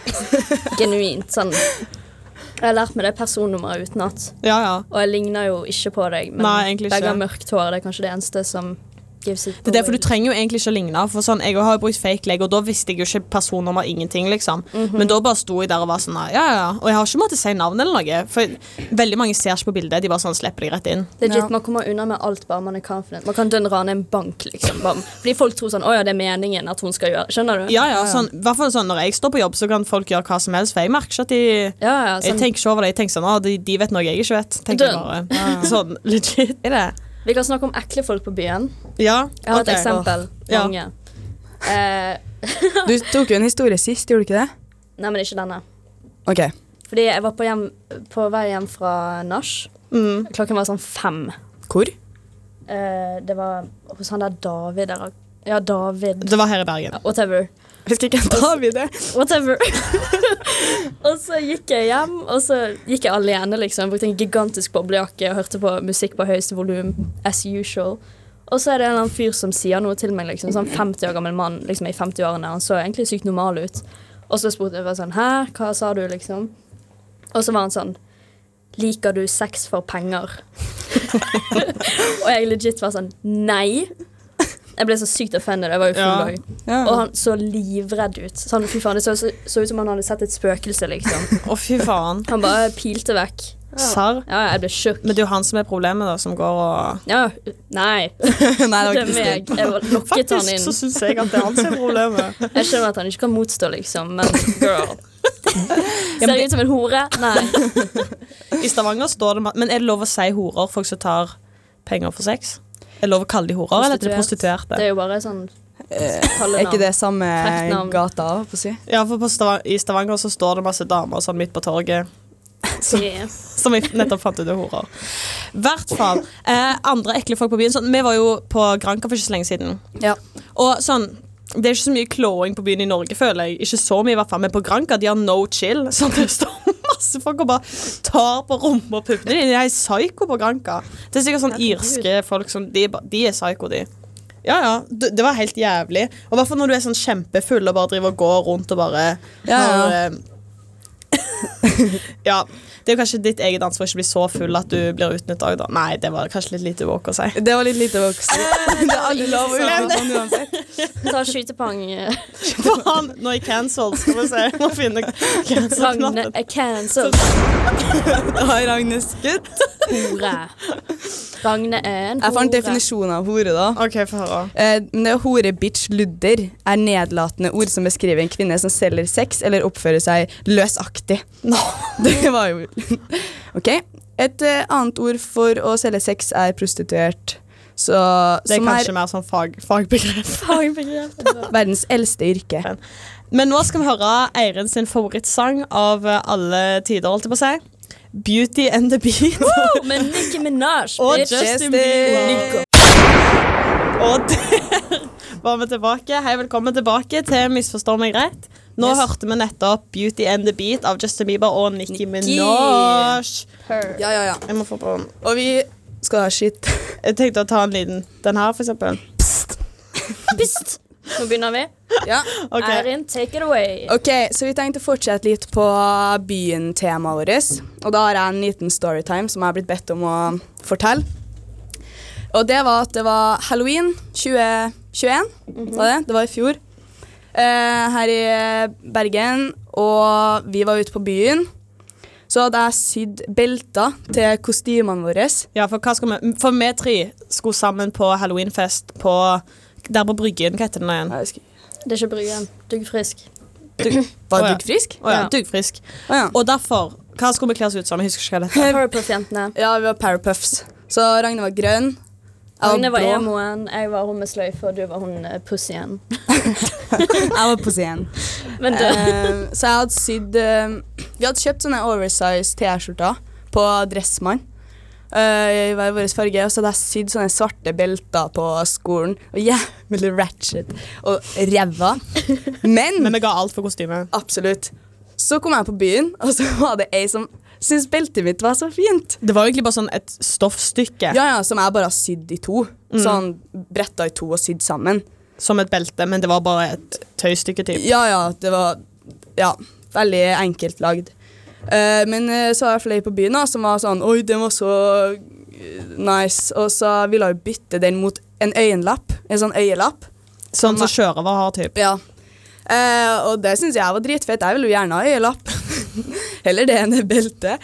Speaker 2: Genuint. Sånn. Jeg har lært meg det personnummeret utenat,
Speaker 3: Ja, ja.
Speaker 2: og jeg ligner jo ikke på deg. Men
Speaker 3: Nei, egentlig ikke.
Speaker 2: begge har mørkt hår. Det er kanskje det eneste som gives it
Speaker 3: Det er derfor du trenger jo egentlig ikke å ligne. For sånn, Jeg har jo brukt fake leg, og da visste jeg jo ikke personnummer. ingenting, liksom.
Speaker 2: Mhm.
Speaker 3: Men da bare sto jeg der og var sånn, ja, ja. Og jeg har ikke måttet si navn eller noe. For veldig mange ser ikke på bildet. De bare sånn, slipper deg rett inn.
Speaker 2: Legit,
Speaker 4: Ja.
Speaker 2: Man kommer unna med alt bare man er confident. Man kan dønn rane en bank, liksom. Bare. Fordi folk tror sånn Å ja, det er meningen at hun skal gjøre Skjønner du?
Speaker 3: Ja, ja, sånn, i hvert fall sånn, Når jeg står på jobb, så kan folk gjøre hva som helst. For jeg merker ikke at de
Speaker 2: ja, ja,
Speaker 3: Jeg
Speaker 2: sånn.
Speaker 3: tenker ikke over det. Jeg tenker sånn, ah, de, de vet noe jeg ikke vet. Tenker jeg bare.
Speaker 2: Dønn.
Speaker 3: (laughs) Sånn, legit. Er det?
Speaker 2: Vi kan snakke om ekle folk på byen.
Speaker 3: Ja.
Speaker 2: Jeg har
Speaker 3: ok.
Speaker 2: et eksempel.
Speaker 3: Ja.
Speaker 2: Mange. Eh,
Speaker 4: Du tok jo en historie sist, gjorde du ikke det?
Speaker 2: nei, men ikke denne.
Speaker 4: OK.
Speaker 2: Fordi jeg var på, hjem, på vei hjem fra nach.
Speaker 3: Mm.
Speaker 2: Klokken var sånn fem.
Speaker 4: Hvor?
Speaker 2: Eh, det var hos han der David der. Ja, David.
Speaker 3: Det var her i Bergen.
Speaker 2: Whatever.
Speaker 4: Husker ikke David det.
Speaker 2: Whatever. (laughs) og så gikk jeg hjem, og så gikk jeg alene, liksom. Brukte en gigantisk boblejakke og hørte på musikk på høyeste volum, as usual. Og så er det en eller annen fyr som sier noe til meg, liksom. Sånn 50 år gammel mann liksom i 50-årene. Han så egentlig sykt normal ut. Og så spurte jeg bare sånn Hæ, hva sa du, liksom? Og så var han sånn Liker du sex for penger? (laughs) og jeg legit var sånn Nei. Jeg ble så sykt offended. Jeg var jo full
Speaker 3: Ja.
Speaker 2: dag.
Speaker 4: Ja.
Speaker 2: Og han så livredd ut. Så han, fy faen, Det så, så, så ut som han hadde sett et spøkelse, liksom.
Speaker 3: Å, fy faen.
Speaker 2: Han bare pilte vekk.
Speaker 3: Sarr.
Speaker 2: Ja, jeg ble sjuk.
Speaker 3: Men det er jo han som er problemet, da, som går og
Speaker 2: Ja, nei,
Speaker 4: (laughs) Nei, det var
Speaker 2: det er
Speaker 4: Kristin.
Speaker 2: meg. Jeg var- lokket han inn.
Speaker 3: syns jeg at det er han som er problemet.
Speaker 2: Jeg skjønner at han ikke kan motstå, liksom, men
Speaker 4: (laughs)
Speaker 2: girl. Ser jeg ut som en hore? Nei.
Speaker 3: (laughs) I Stavanger står det ma- Men er det lov å si horer, folk som tar penger for sex? Er det lov å kalle de horer, eller er det
Speaker 2: Prostituert. Det
Speaker 3: prostituerte?
Speaker 2: er jo bare sånn
Speaker 4: Er ikke det samme
Speaker 2: Frekt navn.
Speaker 4: gata, holdt på å si?
Speaker 3: Ja, for på Stava- I Stavanger så står det masse damer sånn midt på torget
Speaker 2: Yeah.
Speaker 3: Som jeg nettopp fant ut er horer. Hvert fall. Eh, andre ekle folk på byen. Sånn, vi var jo på Granca for ikke så lenge siden.
Speaker 4: Ja.
Speaker 3: Og sånn, Det er ikke så mye klåing på byen i Norge, føler jeg. Ikke så mye i hvert fall, Men på Granca de har no chill. (laughs) Sånn, det står masse folk og bare tar på rumpa og puppene dine. De er psyko på Granca. Det er sikkert sånn irske folk som De, er ba- de er psyko, de. Ja, ja. Det, det var helt jævlig. Og i hvert fall når du er sånn kjempefull og bare driver og går rundt og bare
Speaker 4: Ja,
Speaker 3: når, eh, (laughs) ja. Det er jo kanskje ditt eget ansvar å ikke bli så full at du blir utnytta òg, da. Nei, det var kanskje litt lite woke å si.
Speaker 4: Det var litt lite voksen. Det er aldri lov å gjøre noe sånn (laughs) uansett.
Speaker 2: Ta skytepang.
Speaker 4: (laughs)
Speaker 2: eh,
Speaker 3: Faen, nå er jeg cancelled, skal vi se. Jeg må finne
Speaker 2: Ragne
Speaker 3: cancel-knappen.
Speaker 2: er cancelled.
Speaker 4: Da har Agnes skutt.
Speaker 2: Hore. Ragne er en hore.
Speaker 4: Jeg fant definisjonen av hore, da.
Speaker 3: OK, få høre.
Speaker 4: Eh, men det er hore, bitch, ludder er nedlatende ord som beskriver en kvinne som selger sex eller oppfører seg løsaktig. (laughs) Det var jo (laughs) OK. Et eh, annet ord for å selge sex er prostituert. Så,
Speaker 3: Det er
Speaker 4: som
Speaker 3: kanskje
Speaker 4: er
Speaker 3: mer sånn fag, fagbegrep.
Speaker 4: verdens eldste yrke.
Speaker 3: (laughs) Men nå skal vi høre Eirin sin favorittsang av eh, alle tider, holdt jeg på å si. Beauty and the Beat. (laughs)
Speaker 2: Men Nicki Minaj,
Speaker 3: Og
Speaker 2: bitch.
Speaker 3: Justin
Speaker 4: Bieber.
Speaker 3: Og der (laughs) var vi tilbake. Hei, velkommen tilbake til Misforstår meg rett. Nå
Speaker 4: Yes.
Speaker 3: hørte vi nettopp Beauty and the Beat av Justin Bieber og Nicki Minaj.
Speaker 4: Ja, ja, ja.
Speaker 3: Jeg må få på den.
Speaker 4: Og vi skal ha skitt.
Speaker 3: Jeg tenkte å ta en liten den her, for eksempel.
Speaker 2: Pst. Nå begynner vi.
Speaker 4: (laughs) Ja.
Speaker 3: Ok.
Speaker 2: Erin, take it away.
Speaker 4: Ok, så vi tenkte å fortsette litt på byen-temaet vårt. Og da har jeg en liten storytime som jeg har blitt bedt om å fortelle. Og det var at det var halloween 2021. Var det? det var i fjor. Eh, her i Bergen. Og vi var ute på byen. Så hadde jeg sydd belter til kostymene våre.
Speaker 3: Ja, for hva skal vi For vi tre skulle sammen på halloweenfest på der på Bryggen. Hva heter den igjen?
Speaker 2: Det er ikke Bryggen. Duggfrisk.
Speaker 4: Var
Speaker 3: Å, ja.
Speaker 4: du frisk?
Speaker 3: Å ja,
Speaker 2: Ja.
Speaker 3: Duggfrisk.
Speaker 4: Å ja.
Speaker 3: Og derfor Hva skulle vi kle oss ut som? Jeg husker ikke hva det
Speaker 4: (laughs)
Speaker 3: heter.
Speaker 2: Powerpuff-jentene.
Speaker 4: Ja, vi var Powerpuffs. Så Ragne var grønn. jeg
Speaker 2: Agne var
Speaker 4: blå.
Speaker 2: emoen, jeg var hun med sløyfe, og du var hun eh, pussyen.
Speaker 4: Jeg var på scenen.
Speaker 2: Men du,
Speaker 4: Eh, (laughs) så jeg hadde sydd eh, Vi hadde kjøpt sånne oversize T-skjorter på Dressmann. eh, I hver vår farge. Og så hadde jeg sydd sånne svarte belter på skolen. Og jævlig ratchet og (laughs) ræva. Men
Speaker 3: Men vi ga alt for kostymet.
Speaker 4: absolutt. Så kom jeg på byen, og så var det ei som syntes beltet mitt var så fint.
Speaker 3: Det var jo egentlig bare sånn et stoffstykke
Speaker 4: Ja, ja, Som jeg bare har sydd i to. Sånn bretta i to og sydd sammen.
Speaker 3: som et belte, men det var bare et tøystykke. Typ.
Speaker 4: Ja, ja, det var ja, veldig enkelt lagd. Eh, men eh, så var jeg flere på byen da, som var sånn Oi, den var så eh, nice. Og så ville jeg bytte den mot en øyenlapp. En sånn øyelapp.
Speaker 3: Sånn som sjørøver har, typ.
Speaker 4: Ja. Eh, og det syns jeg var dritfett. Jeg ville jo gjerne ha øyelapp. (laughs) Heller det enn et belte.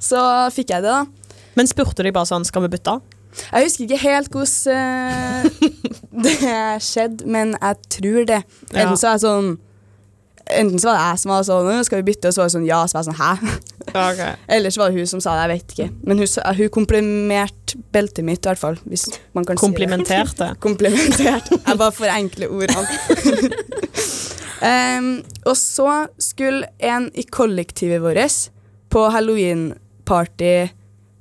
Speaker 4: Så fikk jeg det, da.
Speaker 3: Men spurte de bare sånn Skal vi bytte?
Speaker 4: Jeg husker ikke helt hvordan eh, det skjedde, men jeg tror det.
Speaker 3: Ja.
Speaker 4: Enten så er jeg sånn Enten så var det jeg som var sånn «Nå Skal vi bytte? Og så var det sånn ja. Så var jeg sånn hæ?
Speaker 3: Ja, ok.
Speaker 4: Ellers var det hun som sa det, jeg vet ikke. Men hun, sa- hun komplimerte beltet mitt, i hvert fall. Hvis man kan (laughs)
Speaker 3: Komplimenterte.
Speaker 4: si det. Komplimentert. Jeg bare forenkler ordene. um, og så skulle en i kollektivet vårt på halloween-party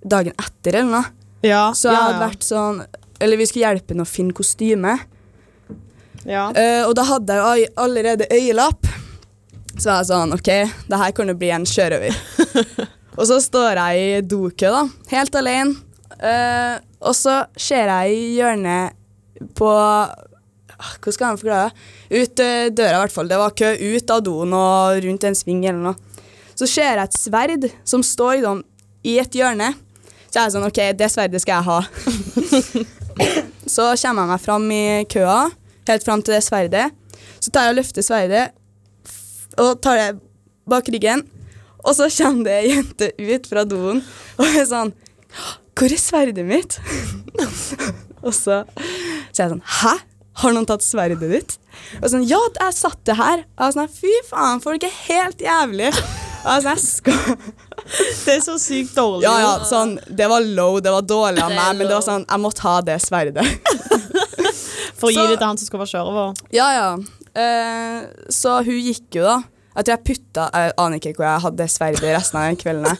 Speaker 4: dagen etter eller noe.
Speaker 3: Ja,
Speaker 4: Så jeg hadde vært sånn Eller vi skulle hjelpe henne å finne kostyme.
Speaker 3: ja.
Speaker 4: Eh, og da hadde jeg jo ai- allerede øyelapp. Så var jeg sånn, ok, det her kan jo bli en sjørøver.
Speaker 3: (laughs)
Speaker 4: og så står jeg i dokø da, helt alene. Eh, og så ser jeg i hjørnet på, ah, hvordan skal jeg forklare det? Ut eh, døra i hvert fall, det var kø ut av doen og rundt en sving eller noe. Så ser jeg et sverd som står i, dem, i et hjørne. Så jeg er sånn, ok, det sverdet skal jeg ha. Så kommer jeg meg fram i køa, helt fram til det sverdet. Så tar jeg og løfter sverdet og tar det bak ryggen. Og så kommer det ei jente ut fra doen og er sånn Hvor er sverdet mitt? (laughs) og så sier jeg sånn Hæ? Har noen tatt sverdet ditt? Og sånn Ja, jeg satt det her. Og jeg var sånn Fy faen, folk er helt jævlig. Og jeg var sånn, jeg skal
Speaker 3: Det er så sykt dårlig.
Speaker 4: ja, ja, sånn, Det var low, det var dårlig av meg, men det var sånn, jeg måtte ha det sverdet.
Speaker 3: For å gi
Speaker 4: Så-
Speaker 3: det til han som skal være sjørøver.
Speaker 4: Ja, ja. Eh, så hun gikk jo, da. Jeg tror jeg putta Jeg aner ikke hvor jeg hadde det sverdet resten av den kvelden.
Speaker 3: (laughs)
Speaker 4: jeg.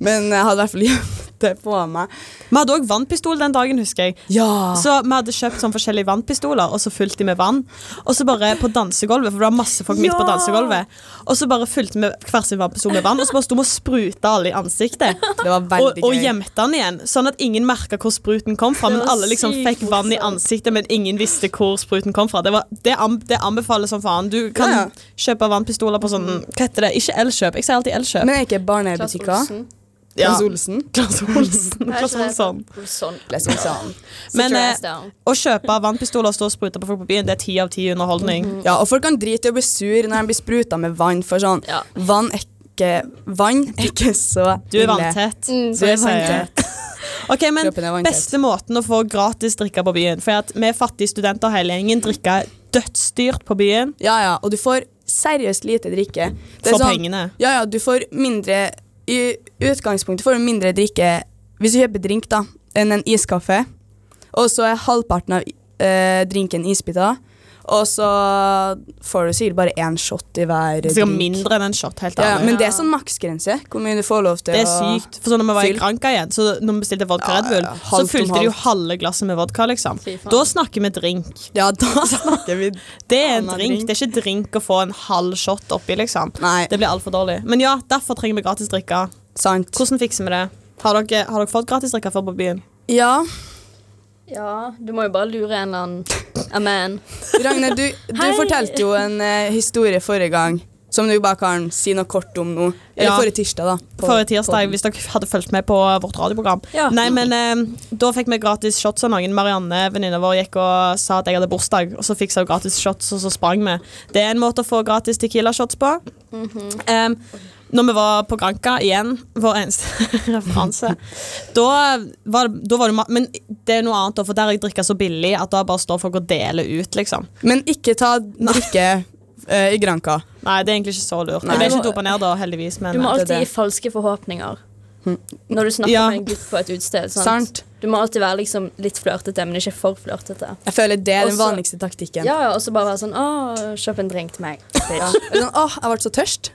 Speaker 4: Men jeg hadde i hvert fall gjemt det på meg.
Speaker 3: Vi hadde òg vannpistol den dagen, husker jeg.
Speaker 4: Ja.
Speaker 3: Så vi hadde kjøpt sånn forskjellige vannpistoler, og så fylte de med vann. Og så bare på dansegulvet, for det var masse folk midt på
Speaker 2: Ja!
Speaker 3: dansegulvet. Og så bare fylte vi hver sin vannpistol med vann, og så bare sto vi og spruta alle i ansiktet.
Speaker 4: Det var (laughs)
Speaker 3: Og,
Speaker 4: veldig
Speaker 3: og
Speaker 4: gøy.
Speaker 3: gjemte den igjen, sånn at ingen merka hvor spruten kom fra. Men
Speaker 2: Det var
Speaker 3: alle liksom
Speaker 2: sykt
Speaker 3: fikk vann i
Speaker 2: morsomt.
Speaker 3: ansiktet, men ingen visste hvor spruten kom fra. Det, var, det, an, det anbefales som faen. Du kan
Speaker 4: Ja, ja.
Speaker 3: kjøpe vannpistoler på sånn Hva heter det? Ikke Elkjøp. Jeg sier alltid Elkjøp.
Speaker 4: Men er ikke
Speaker 3: Eh,
Speaker 2: Klass
Speaker 4: barnebutikker?
Speaker 3: (laughs)
Speaker 2: Olsen.
Speaker 4: Klass Olsen.
Speaker 3: Klass Olsen. Klass Olsen.
Speaker 2: Olsson.
Speaker 4: Klass Olsen.
Speaker 3: Men
Speaker 2: your
Speaker 3: eh,
Speaker 2: ass down.
Speaker 3: å kjøpe vannpistoler og stå og sprute på folk på byen, det er ti av ti underholdning.
Speaker 4: Ja, og folk kan drite i å bli sur når de blir spruta med vann, for sånn
Speaker 2: Ja.
Speaker 4: vann, er ikke, vann er ikke så
Speaker 3: Du er
Speaker 4: ille.
Speaker 3: vanntett.
Speaker 2: Mm.
Speaker 4: Du er vanntett.
Speaker 3: (laughs) Ok, men
Speaker 4: Kroppen er vanntett.
Speaker 3: Beste måten å få gratis drikke på byen For at vi er fattige studenter hele gjengen drikker dødsdyrt på byen.
Speaker 4: Ja, ja, og du får seriøst lite drikke. Det er sånn-
Speaker 3: For pengene.
Speaker 4: Ja, ja, du får mindre I utgangspunktet får du mindre drikke hvis du kjøper drink, da, enn en iskaffe. Og så er halvparten av eh, drinken isbiter. Og så får du sikkert bare én shot i hver
Speaker 3: Det skal
Speaker 4: drink.
Speaker 3: mindre enn en shot, helt
Speaker 4: Ja,
Speaker 3: ærlig.
Speaker 4: ja, men det er sånn maksgrense. Hvor mye du får lov til
Speaker 3: Det er sykt. For sånn når vi var i
Speaker 4: Fyll.
Speaker 3: Granca igjen, så når vi bestilte vodka
Speaker 4: Ja,
Speaker 3: Red Bull,
Speaker 4: ja, ja.
Speaker 3: så
Speaker 4: Halvt om
Speaker 3: fylte de jo
Speaker 4: halvt.
Speaker 3: halve glasset med vodka, liksom.
Speaker 2: Fy faen.
Speaker 3: Da snakker vi drink.
Speaker 4: å Ja, da (laughs) snakker vi
Speaker 3: Det er en
Speaker 4: Faen,
Speaker 3: drink.
Speaker 4: drink.
Speaker 3: Det er ikke drink å få en halv shot oppi, liksom.
Speaker 4: Nei.
Speaker 3: Det blir altfor dårlig. Men ja, derfor trenger vi gratis drikke.
Speaker 4: Sant.
Speaker 3: Hvordan fikser vi det? Har dere, har dere fått gratis drikke før på byen?
Speaker 4: Ja,
Speaker 2: Ja, du må jo bare lure en eller annen A man.
Speaker 4: Ragne, du, du
Speaker 2: Hei.
Speaker 4: fortalte jo en eh, historie forrige gang som du bare kan si noe kort om nå. Eller
Speaker 3: Ja.
Speaker 4: forrige tirsdag, da. på-
Speaker 3: Forrige tirsdag,
Speaker 4: på-
Speaker 3: hvis dere hadde fulgt med på vårt radioprogram.
Speaker 2: Ja.
Speaker 3: Nei, men eh, Da fikk vi gratis shots av noen. Marianne, venninna vår, gikk og sa at jeg hadde bursdag, og så fiksa hun gratis shots, og så sprang vi. Det er en måte å få gratis Tequila-shots på.
Speaker 2: Mhm.
Speaker 3: Em, når vi var på Granca igjen, vår eneste (laughs) referanse, da var, da var det ma- Men det er noe annet, da, for der har jeg drikka så billig at da bare står folk og deler ut, liksom.
Speaker 4: Men ikke ta drikke eh, i Granca.
Speaker 3: Nei, det er egentlig ikke så lurt.
Speaker 4: Nei.
Speaker 3: Jeg ble ikke dopa ned da, heldigvis, men
Speaker 2: Du må
Speaker 3: eh,
Speaker 2: alltid
Speaker 4: det.
Speaker 2: gi falske forhåpninger når du snakker
Speaker 3: Hm. Ja.
Speaker 2: med en gutt på et utested. Sant?
Speaker 4: Sant.
Speaker 2: Du må alltid være liksom litt flørtete, men ikke for flørtete.
Speaker 4: Jeg føler det er den
Speaker 2: Også-
Speaker 4: vanligste taktikken.
Speaker 2: Ja, ja, og så bare være sånn Å, kjøp en drink til meg.
Speaker 4: Ja. Eller Sånn, Åh, jeg ble så tørst.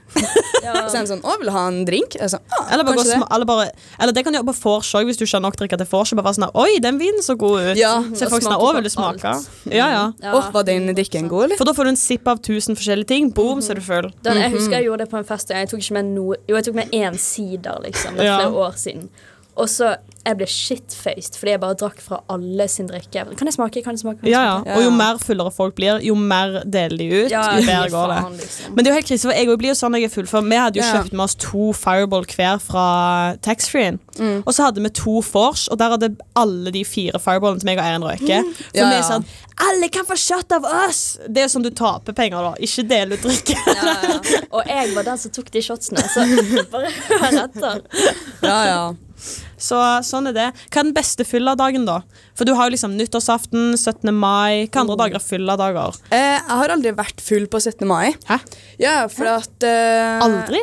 Speaker 2: Ja.
Speaker 4: Og så er den sånn, Å, vil du ha en drink? Eller, sånn, «Åh,
Speaker 3: Eller, bare gå
Speaker 4: kanskje
Speaker 3: sma- eller, bare, eller det kan du gjøre på vors òg, hvis du ikke har nok drikke til vors. og Bare være sånn, Oi, den vinen så god ut.
Speaker 4: Ja.
Speaker 3: (laughs) så er
Speaker 2: Og
Speaker 3: folk sånn,
Speaker 2: smake
Speaker 3: å,
Speaker 2: på
Speaker 3: vil du smake?
Speaker 2: alt.
Speaker 3: Ja, ja.
Speaker 2: Ja.
Speaker 4: Åh, var den drikken god, eller?
Speaker 3: For da får du en sipp av tusen forskjellige ting. Boom, så er du full.
Speaker 2: Den, jeg husker jeg gjorde det på en fest, og jeg tok ikke med noe Jo, jeg tok med én sider, liksom. Det er
Speaker 3: Ja.
Speaker 2: flere år siden. Og så Jeg ble shitfaced fordi jeg bare drakk fra alle sin drikke. Kan jeg smake? Kan jeg smake? Kan jeg
Speaker 3: Ja, ja.
Speaker 2: smake?
Speaker 3: Og jo mer fullere folk blir, jo mer deler de ut.
Speaker 2: Ja,
Speaker 3: jo bedre
Speaker 2: fy
Speaker 3: går
Speaker 2: faen,
Speaker 3: det.
Speaker 2: liksom.
Speaker 3: Men det er jo helt krise, for jeg også blir jo sånn når jeg er full. For vi hadde jo
Speaker 4: Ja.
Speaker 3: kjøpt med oss to Fireball hver fra taxfree-en. Og så hadde vi to vors, og der hadde alle de fire Fireballene til meg og Eirin røyke. For
Speaker 4: Ja,
Speaker 3: vi
Speaker 4: ja.
Speaker 3: er sånn Alle kan få shot av oss! Det er sånn du taper penger, da. Ikke del ut drikke. (laughs)
Speaker 2: Ja, ja. Og jeg var den som tok de shotsene, så (laughs) bare hør etter.
Speaker 4: (laughs) Ja, ja.
Speaker 3: Så sånn er det. Hva er den beste fylla-dagen, da? For du har jo liksom nyttårsaften, 17. mai. Hva andre dager er fylla-dager?
Speaker 4: Eh, jeg har aldri vært full på 17. mai.
Speaker 3: Hæ?
Speaker 4: Ja, for at eh,
Speaker 3: Aldri?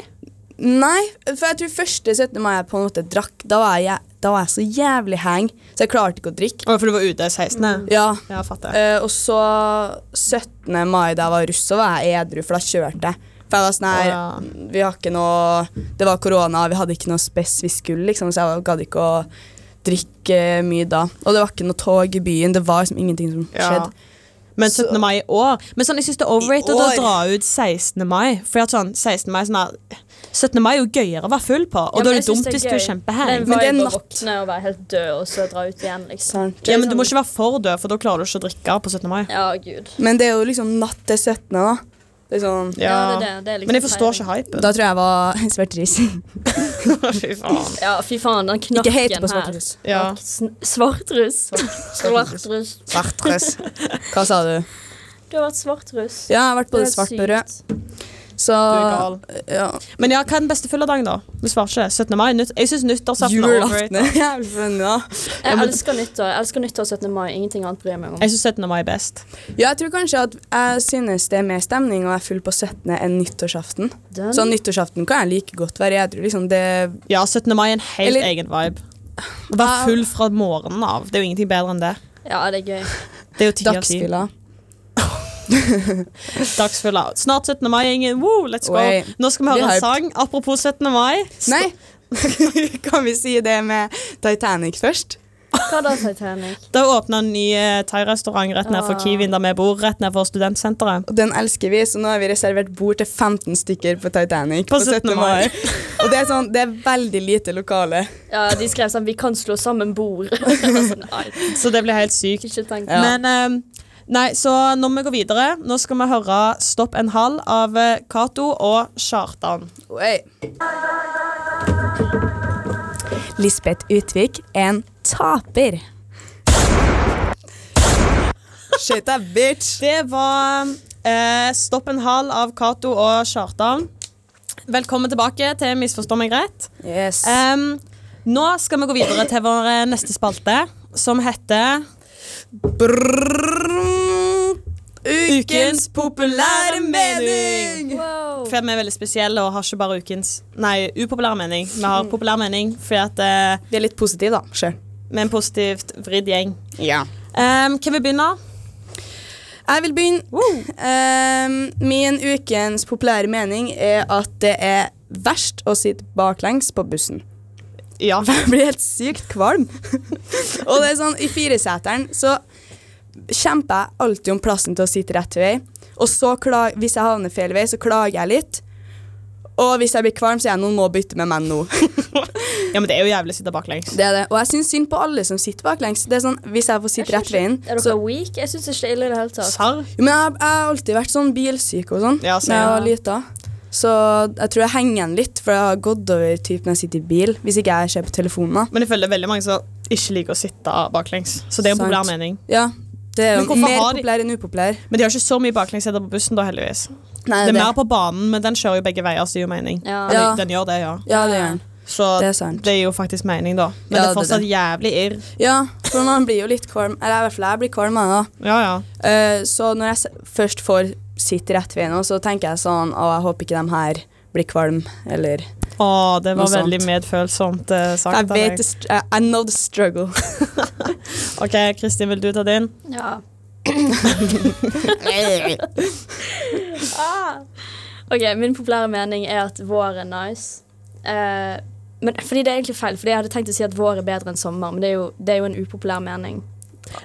Speaker 4: Nei, for jeg tror første 17. mai jeg på en måte drakk. Da var jeg, da var jeg så jævlig hang, så jeg klarte ikke å drikke.
Speaker 3: Å, for du var ute 16.
Speaker 4: Ja,
Speaker 3: Mm. Ja, fatter.
Speaker 4: eh, Og så 17. mai da jeg var russ, så var jeg edru, for da kjørte jeg. For jeg var sånn her,
Speaker 3: Å,
Speaker 4: vi har ikke noe, Det var korona, vi hadde ikke noe spess vi skulle, liksom, så jeg gadd ikke å drikke mye da. Og det var ikke noe tog i byen, det var liksom ingenting som skjedde.
Speaker 3: Men 17. mai i år Men sånn, jeg syns det er overrated å
Speaker 4: I år.
Speaker 3: dra ut 16. mai. For at sånn, 16. mai, sånn her, 17. mai er jo gøyere å være full på, og
Speaker 2: Ja,
Speaker 3: da
Speaker 2: men
Speaker 3: er
Speaker 2: jeg
Speaker 3: det
Speaker 2: synes
Speaker 3: dumt
Speaker 2: det er
Speaker 3: hvis du er
Speaker 2: gøy.
Speaker 3: kjempehang.
Speaker 2: Det
Speaker 4: Men det
Speaker 2: er
Speaker 4: er
Speaker 2: en vibe å
Speaker 4: natt.
Speaker 2: våkne og være helt død, og så dra ut igjen, liksom.
Speaker 4: Sant.
Speaker 3: Ja, men du må ikke være for død, for da klarer du ikke å drikke på 17. mai.
Speaker 2: Ja, gud.
Speaker 4: Men det er jo liksom natt til 17., da. Det er sånn,
Speaker 2: Ja, det er det. Det er liksom
Speaker 3: Men jeg forstår ikke
Speaker 2: feiring.
Speaker 3: hypen.
Speaker 4: Da tror jeg jeg var (laughs) svartris.
Speaker 3: (laughs) Fy faen.
Speaker 2: Ja, fy faen, den
Speaker 4: Ikke
Speaker 2: knakken her.
Speaker 4: hate på svartris.
Speaker 3: Ja.
Speaker 2: Sn- Svartruss. (laughs) Svartruss.
Speaker 4: Svartruss. Hva sa du?
Speaker 2: Du har vært svartruss.
Speaker 4: Ja, jeg har vært
Speaker 2: Det er
Speaker 4: både svart og rød.
Speaker 2: sykt.
Speaker 4: Så
Speaker 3: Du er gal.
Speaker 4: ja.
Speaker 3: Men ja, hva er den beste fylledagen, da? Vi svarer ikke. 17. mai. Nytt, jeg syns nyttårsaften er
Speaker 4: Julaften (laughs)
Speaker 3: overrated.
Speaker 4: er jævlig funny, da.
Speaker 2: Jeg elsker nyttår. Jeg elsker nyttår og 17. mai. Ingenting annet bryr jeg meg om.
Speaker 3: Jeg syns 17. mai er best.
Speaker 4: Ja, jeg tror kanskje at jeg synes det er mer stemning å være full på 17. enn nyttårsaften.
Speaker 2: Den-
Speaker 4: Så nyttårsaften kan jeg like godt være edru. Liksom det
Speaker 3: Ja, 17. mai er en helt
Speaker 4: Eller-
Speaker 3: egen vibe. Å være full fra
Speaker 4: (laughs)
Speaker 3: morgenen av. Det er jo ingenting bedre enn det.
Speaker 2: Ja, det er gøy.
Speaker 3: Det er jo ti av ti.
Speaker 4: dagsfylla.
Speaker 3: Dagsfylla. Snart 17. mai, gjengen. Woo, let's go.
Speaker 4: Oi.
Speaker 3: Nå skal vi
Speaker 4: Blir
Speaker 3: høre en
Speaker 4: hyped.
Speaker 3: sang. Apropos 17. mai. Sto-
Speaker 4: (laughs) Nei, kan vi si det med Titanic først?
Speaker 2: Hva da, Titanic?
Speaker 3: Det er åpna en ny eh, thairestaurant rett ned
Speaker 4: Ah.
Speaker 3: for Kiwien, der vi bor. Rett ned for studentsenteret.
Speaker 4: Og den elsker vi, så nå har vi reservert bord til 15 stykker på Titanic
Speaker 3: På
Speaker 4: på 17.
Speaker 3: 17.
Speaker 4: mai. Og det er, sånn, det er veldig lite lokale.
Speaker 2: Ja, De skrev sånn 'Vi kan slå sammen bord'. (laughs) Jeg var sånn, Nei,
Speaker 3: Så det blir helt sykt.
Speaker 2: ikke tenk
Speaker 4: Ja.
Speaker 3: Men ehm, Nei, så når vi går videre, nå skal vi høre 'Stopp en hal' av eh, Cato og Kjartan.
Speaker 4: Oi. Lisbeth Utvik, en taper. Shit that bitch.
Speaker 3: Det var eh, 'Stopp en hal' av Cato og Kjartan. Velkommen tilbake til 'Misforstå meg rett'.
Speaker 4: Yes.
Speaker 3: Ehm, nå skal vi gå videre til vår eh, neste spalte, som heter
Speaker 4: Ukens populære mening.
Speaker 2: Wow.
Speaker 3: For vi er veldig spesielle og har ikke bare ukens Nei, upopulær mening. Vi har populær mening fordi at eh,
Speaker 4: Vi er litt positive, da. Sjøl.
Speaker 3: vi er en positivt vridd gjeng.
Speaker 4: Ja.
Speaker 3: Um, hvem vil begynne?
Speaker 4: Jeg vil begynne. Ehm, min ukens populære mening er at det er verst å sitte baklengs på bussen.
Speaker 3: Ja.
Speaker 4: Jeg blir helt sykt kvalm. og det er sånn, i fireseteren så kjemper jeg alltid om plassen til å sitte rett vei. Og så, kla- hvis jeg havner feil vei, så klager jeg litt. Og hvis jeg blir kvalm, så er jeg noen må bytte med meg nå.
Speaker 3: Ja, men det er jo jævlig å sitte baklengs.
Speaker 4: Det er det. Og jeg syns synd på alle som sitter baklengs. Det er sånn, Hvis jeg får sitte rett veien
Speaker 2: Er dere
Speaker 4: så,
Speaker 2: weak? Jeg syns ikke det er ille i det hele tatt.
Speaker 3: Sarr?
Speaker 4: jo, Men jeg, jeg har alltid vært sånn bilsyk og sånn da
Speaker 3: Ja,
Speaker 4: jeg
Speaker 3: så ja.
Speaker 4: var lita. Så jeg tror jeg henger igjen litt, for jeg har gått over typ når jeg sitter i bil. Hvis ikke jeg ser på telefonen. da.
Speaker 3: Men jeg føler det er veldig mange som ikke liker å sitte baklengs. Så det er en
Speaker 4: Sant.
Speaker 3: populær mening.
Speaker 4: Ja, Det er
Speaker 3: Men
Speaker 4: jo
Speaker 3: hvorfor
Speaker 4: mer
Speaker 3: har de-
Speaker 4: populær enn upopulær.
Speaker 3: Men de har ikke så mye baklengsseter på bussen, da, heldigvis.
Speaker 4: Nei,
Speaker 3: Det er mer på banen, men den kjører jo begge veier, så det gir jo mening.
Speaker 2: Ja.
Speaker 3: Eller,
Speaker 4: Ja.
Speaker 3: Den gjør det, ja.
Speaker 4: Ja, det gjør han.
Speaker 3: Så
Speaker 4: Det er sant.
Speaker 3: det er jo faktisk mening, da.
Speaker 4: Ja,
Speaker 3: Men det
Speaker 4: det er
Speaker 3: er fortsatt
Speaker 4: det.
Speaker 3: jævlig irr.
Speaker 4: Ja, for man blir jo litt kvalm. Eller i hvert fall jeg blir kvalm av det.
Speaker 3: Ja, ja.
Speaker 4: Eh, så når jeg s- først får sitt rett ved nå, så tenker jeg sånn Å, jeg håper ikke de her blir kvalm, eller
Speaker 3: Å, det var
Speaker 4: Noe sånt.
Speaker 3: veldig medfølsomt eh, sagt
Speaker 4: Jeg
Speaker 3: av
Speaker 4: vet
Speaker 3: deg.
Speaker 4: the str- I I know the struggle.
Speaker 3: OK, Kristin, vil du ta din?
Speaker 2: Ja. ah. (laughs) Ok, min populære mening er at vår er nice. Eh, men, fordi det er egentlig feil, fordi jeg hadde tenkt å si at vår er bedre enn sommer, men det er jo, det er jo en upopulær mening.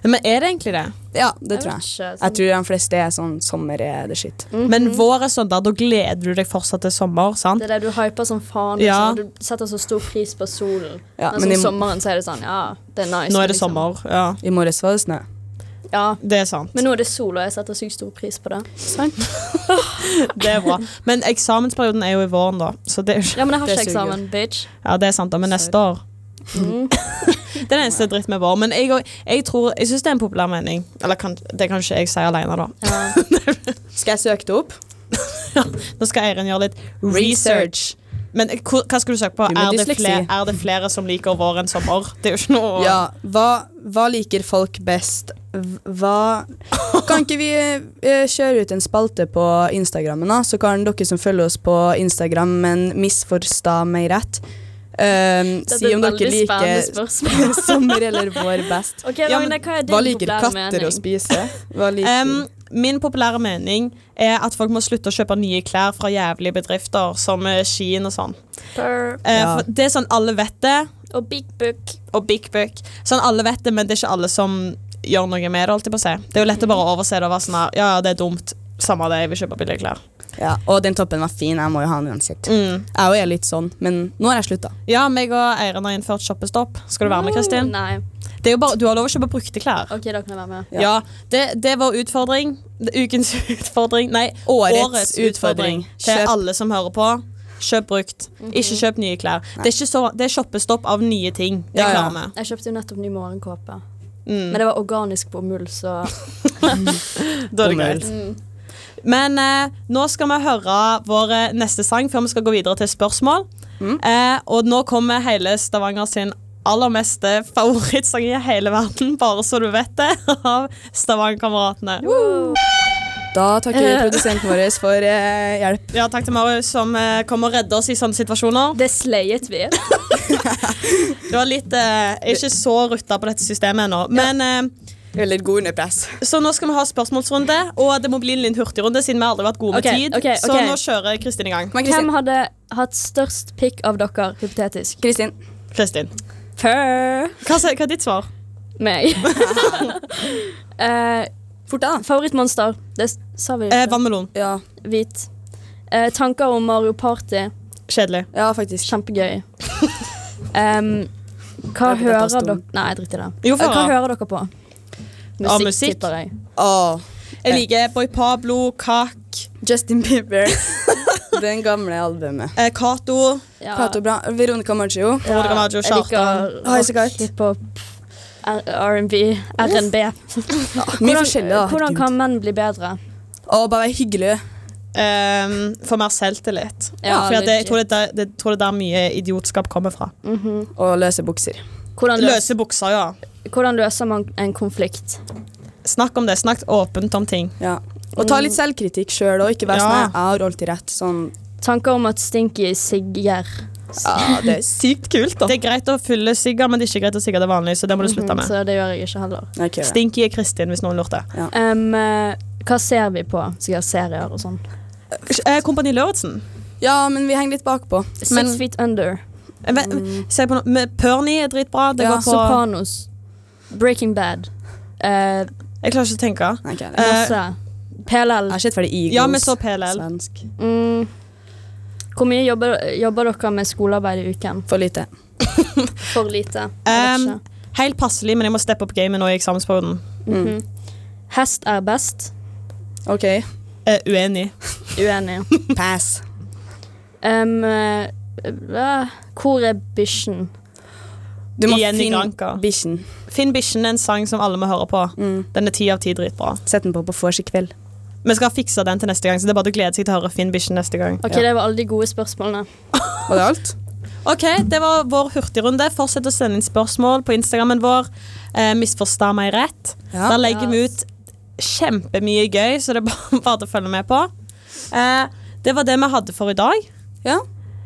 Speaker 3: Men er det egentlig det?
Speaker 4: Ja, det tror
Speaker 2: vet
Speaker 4: jeg.
Speaker 2: ikke,
Speaker 4: Jeg
Speaker 2: sånn-
Speaker 4: tror de fleste er sånn Sommer er det shit.
Speaker 3: Men vår er søndag, da gleder du deg fortsatt til sommer, sant?
Speaker 2: Det er det du hyper som faen, liksom,
Speaker 3: Ja.
Speaker 2: og du setter så stor pris på solen.
Speaker 4: Ja,
Speaker 2: men
Speaker 4: men
Speaker 2: sånn
Speaker 4: i-
Speaker 2: sommeren så er det sånn, ja, det er nice.
Speaker 3: Nå
Speaker 2: men
Speaker 3: er det
Speaker 2: liksom-
Speaker 3: sommer, ja.
Speaker 4: I morges var det snø.
Speaker 2: Ja,
Speaker 3: Det er sant.
Speaker 2: men nå er det sol, og jeg setter sykt stor pris på det.
Speaker 4: Sant?
Speaker 3: Det er bra. Men eksamensperioden er jo i våren, da. Så det er jo ikke
Speaker 2: Ja, men jeg har
Speaker 4: Det
Speaker 2: ikke
Speaker 4: suger.
Speaker 2: eksamen,
Speaker 4: (laughs)
Speaker 2: bitch. Mhm.
Speaker 3: Ja, det er sant, da, men neste år
Speaker 4: Mm.
Speaker 3: Det er den eneste dritt med vår. Men jeg, og- jeg, tror- jeg syns det er en populær mening. Eller kan, det kan ikke jeg si alene, da.
Speaker 2: Ja.
Speaker 4: Skal jeg søke det opp?
Speaker 3: Nå skal Eirin gjøre litt research. Men hvor, hva skal du søke på?
Speaker 4: Jo, men
Speaker 3: Er det,
Speaker 4: dysleksi.
Speaker 3: flere, er det flere som liker vår enn sommer? Det er jo ikke noe
Speaker 4: Ja, hva, hva liker folk best? V- Hva Kan ikke vi eh, kjøre ut en spalte på Instagrammen, da? Så kan dere som følger oss på Instagram, men misforsta meg rett, eh, si om dere liker
Speaker 2: spørsmål.
Speaker 4: (laughs) sommer eller vår
Speaker 2: (laughs)
Speaker 4: best.
Speaker 2: Ok,
Speaker 3: Ja, men
Speaker 2: Ragnar, hva er din
Speaker 4: Hva liker
Speaker 2: populære
Speaker 4: katter
Speaker 2: mening?
Speaker 4: å spise? Hva liker
Speaker 3: Em, min populære mening er at folk må slutte å kjøpe nye klær fra jævlige bedrifter som eh, Shein og sånn.
Speaker 2: Burr.
Speaker 3: Eh,
Speaker 4: Ja.
Speaker 3: for Det er sånn alle vet det.
Speaker 2: Og Big Book.
Speaker 3: og Big Book. Sånn alle vet det, men det er ikke alle som gjør noe med det. holdt jeg på å si. Det er jo lett å bare overse det og være sånn her, ja, ja, det er dumt. Samme det, jeg vil kjøpe billige klær. Mm.
Speaker 4: Ja, og den toppen var fin, jeg må jo ha den uansett. Jeg òg er litt sånn, men nå har jeg slutta.
Speaker 3: Ja, meg og Eiren har innført shoppestopp. Skal du være med, Kristin?
Speaker 2: Mm, Nei.
Speaker 3: Det er jo bare, Du har lov å kjøpe brukte klær.
Speaker 2: Ok, da kan jeg være med.
Speaker 3: Ja, det, det er vår utfordring. Det er Ukens (laughs) utfordring. Nei, årets,
Speaker 4: Årets
Speaker 3: utfordring.
Speaker 4: utfordring.
Speaker 3: Til
Speaker 4: Kjøp-
Speaker 3: alle som hører på. Kjøp brukt. Ikke kjøp nye klær. Det er, ikke så, det er shoppestopp av nye ting. Det
Speaker 4: Ja, ja.
Speaker 3: klarer vi.
Speaker 2: Jeg kjøpte jo nettopp ny morgenkåpe.
Speaker 3: Mm.
Speaker 2: Men det var organisk bomull, så
Speaker 3: (laughs) Da er det greit. Men eh, nå skal vi høre vår eh, neste sang før vi skal gå videre til spørsmål. Eh, og nå kommer hele Stavanger sin aller meste favorittsang i hele verden, (laughs) bare så du vet det, av Stavanger-kameratene.
Speaker 4: Da takker vi produsenten vår for eh, hjelp.
Speaker 3: Ja, takk til Marius som eh, kom og redder oss i sånne situasjoner.
Speaker 2: det slayet vi.
Speaker 3: Det var litt eh, Jeg er ikke så rutta på dette systemet ennå, men eh,
Speaker 4: Eller god under press.
Speaker 3: Så nå skal vi ha spørsmålsrunde, og det må bli en litt hurtigrunde siden vi aldri har vært gode med
Speaker 2: Ok,
Speaker 3: tid.
Speaker 2: ok,
Speaker 3: Så
Speaker 2: ok.
Speaker 3: nå kjører Kristin i gang.
Speaker 4: Men
Speaker 2: Hvem
Speaker 4: Kristin,
Speaker 2: hadde hatt størst pikk av dere, hypotetisk?
Speaker 4: Kristin
Speaker 3: Kristin,
Speaker 2: Purr.
Speaker 3: hva, sier- hva er ditt svar? (laughs)
Speaker 2: Meg. (laughs) Eh,
Speaker 4: fort da.
Speaker 2: favorittmonster. Det s- sa vi jo.
Speaker 3: Eh,
Speaker 2: ikke.
Speaker 3: Vannmelon.
Speaker 4: Ja,
Speaker 2: Hvit. Eh, tanker om Mario Party.
Speaker 3: Kjedelig.
Speaker 4: ja faktisk.
Speaker 3: (laughs)
Speaker 2: Kjempegøy. Em, hva
Speaker 4: Jeg vil ta
Speaker 2: hører
Speaker 4: stolen.
Speaker 2: dere Nei, drit i det.
Speaker 3: Jo, for
Speaker 2: Eh, hva
Speaker 3: da.
Speaker 2: hører dere på?
Speaker 3: Ja, musikk.
Speaker 2: tipper jeg.
Speaker 4: Åh,
Speaker 3: Jeg liker Boy Pablo, Kak,
Speaker 4: Justin Bieber. (laughs) Den gamle albumet.
Speaker 3: eh, Cato.
Speaker 2: Ja.
Speaker 4: Cato Bra Veronica Maggio.
Speaker 2: Ja,
Speaker 3: Veronica Maggio,
Speaker 2: jeg liker
Speaker 4: Oi, så
Speaker 2: rock,
Speaker 4: godt.
Speaker 2: hiphop, R- R&B, R&B.
Speaker 4: Mye
Speaker 2: Hvordan-
Speaker 4: forskjellig, da.
Speaker 2: Hvordan
Speaker 4: herregud.
Speaker 2: kan menn bli bedre?
Speaker 4: Å, bare være hyggelig.
Speaker 3: Um, for mer selvtillit.
Speaker 2: Ja,
Speaker 3: Fordi at det, jeg
Speaker 2: legit.
Speaker 3: tror det, er der, det tror det er der mye idiotskap kommer fra. Mhm.
Speaker 4: Og løse bukser.
Speaker 2: Hvordan, løs,
Speaker 3: Løse bukser, ja.
Speaker 2: hvordan løser man en konflikt?
Speaker 3: Snakk om det. Snakk åpent om ting.
Speaker 4: Ja. Og ta litt selvkritikk sjøl og ikke være sånn
Speaker 3: Ja.
Speaker 4: her, jeg har alltid rett. Sånn
Speaker 2: Tanker om at stinky sigger.
Speaker 4: Ja, det er sykt kult, da.
Speaker 3: Det er greit å fylle sigga, men det er ikke greit å sigge det vanlige, så det må du slutte med.
Speaker 2: Mhm, Så det gjør jeg ikke heller.
Speaker 4: Nei, ikke gjør det.
Speaker 3: Stinky er Kristin, hvis noen lurte.
Speaker 2: Em, eh, hva ser vi på? Skal jeg ha serier og sånn?
Speaker 3: Eh, Kompani Lauritzen.
Speaker 4: Ja, men vi henger litt bakpå.
Speaker 2: Six
Speaker 3: Men-
Speaker 2: Feet Under.
Speaker 3: Eh, vent, Se på noe. med- Pernie er dritbra. Det
Speaker 4: Mm. Ja.
Speaker 3: går på
Speaker 2: Sopranos. Breaking Bad. Eh,
Speaker 3: Jeg klarer ikke å tenke.
Speaker 4: Nei, ikke gjør det.
Speaker 3: Eh,
Speaker 2: masse. PLL.
Speaker 4: Jeg har sett ferdig Eagles.
Speaker 3: ja, vi så PLL.
Speaker 4: Svensk.
Speaker 2: Mm. Hvor mye jobber, jobber dere med skolearbeid i uken?
Speaker 4: For lite.
Speaker 2: For lite. Jeg vet
Speaker 3: Um, helt passelig, men jeg må steppe opp gamet nå i eksamensperioden.
Speaker 2: ikke. Mhm. Hest er best.
Speaker 4: Mm. OK.
Speaker 3: Eh, uenig.
Speaker 2: Uenig.
Speaker 4: Pass.
Speaker 2: Um, eh, eh, hvor er bikkjen?
Speaker 4: Du må
Speaker 3: Igjen i
Speaker 4: finne
Speaker 3: Granka.
Speaker 4: bikkjen.
Speaker 3: Finn Bikkjen er en sang som alle må høre på.
Speaker 4: Mm.
Speaker 3: Den er ti av ti dritbra.
Speaker 4: Sett den på på vors i kveld.
Speaker 3: Vi skal fikse den til neste gang, så det er bare å glede seg til å høre Finn Bikkjen neste gang.
Speaker 2: Ok, Det var alle de gode spørsmålene.
Speaker 4: Var det alt?
Speaker 3: Ok, det var vår hurtigrunde. Fortsett å sende inn spørsmål på Instagrammen vår. Eh, misforstå meg rett.
Speaker 4: Ja.
Speaker 3: Der legger vi ut kjempemye gøy, så det er bare, (laughs) bare til å følge med på. Eh, det var det vi hadde for i dag.
Speaker 4: Ja.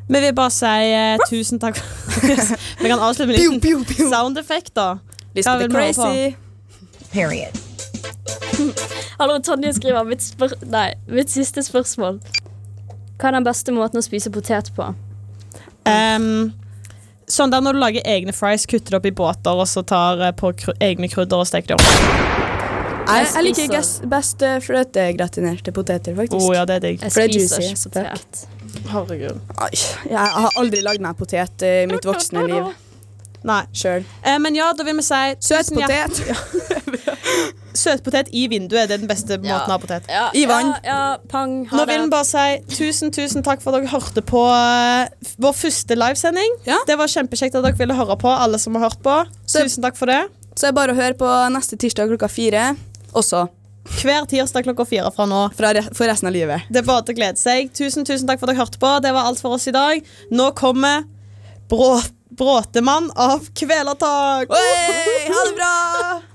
Speaker 3: Vi vil bare si eh, tusen takk. (laughs) vi kan avslutte med en
Speaker 4: pew, pew.
Speaker 3: liten soundeffekt, da.
Speaker 4: Lisbeth
Speaker 3: vil
Speaker 4: er
Speaker 3: vi høre på?
Speaker 4: crazy.
Speaker 5: Period.
Speaker 2: Hallo, Tonje skriver mitt, spør nei, mitt siste spørsmål. Hva er den beste måten å spise potet på?
Speaker 3: Ehm, sånn der når du lager egne fries, kutter det opp i båter, og så tar eh, på kru egne krydder og steker det opp.
Speaker 4: Jeg, jeg liker
Speaker 2: spiser-
Speaker 4: gass- best eh, fløtegratinerte poteter, faktisk.
Speaker 3: Å ja, det er digg.
Speaker 2: Jeg
Speaker 4: For det er
Speaker 2: spiser
Speaker 4: juicy,
Speaker 2: ikke
Speaker 4: så takk.
Speaker 2: potet.
Speaker 3: Herregud.
Speaker 4: Ai, jeg har aldri lagd meg potet eh, i mitt voksne liv
Speaker 3: Nei.
Speaker 4: sjøl.
Speaker 3: Eh, men ja, da vil vi si
Speaker 4: Søt
Speaker 3: tusen hjer-
Speaker 4: potet.
Speaker 3: Søtpotet i vinduet det er den beste måten å ha potet.
Speaker 2: Ja,
Speaker 4: I vann.
Speaker 2: Ja, ja, pang, ha
Speaker 3: Nå
Speaker 2: det.
Speaker 3: vil vi bare si tusen tusen takk for at dere hørte på eh, f- vår første livesending.
Speaker 4: Ja.
Speaker 3: Det var kjempekjekt at dere ville høre på, alle som har hørt på.
Speaker 4: Så-
Speaker 3: Tusen takk for det.
Speaker 4: Så det er bare å høre på neste tirsdag klokka fire. Også
Speaker 3: Hver tirsdag klokka fire fra nå.
Speaker 4: fra re for resten av livet.
Speaker 3: Det er bare til å glede seg. Tusen tusen takk for at dere hørte på. Det var alt for oss i dag. Nå kommer Brå Bråtemann av Kvelertak.
Speaker 4: Oi, ha det bra!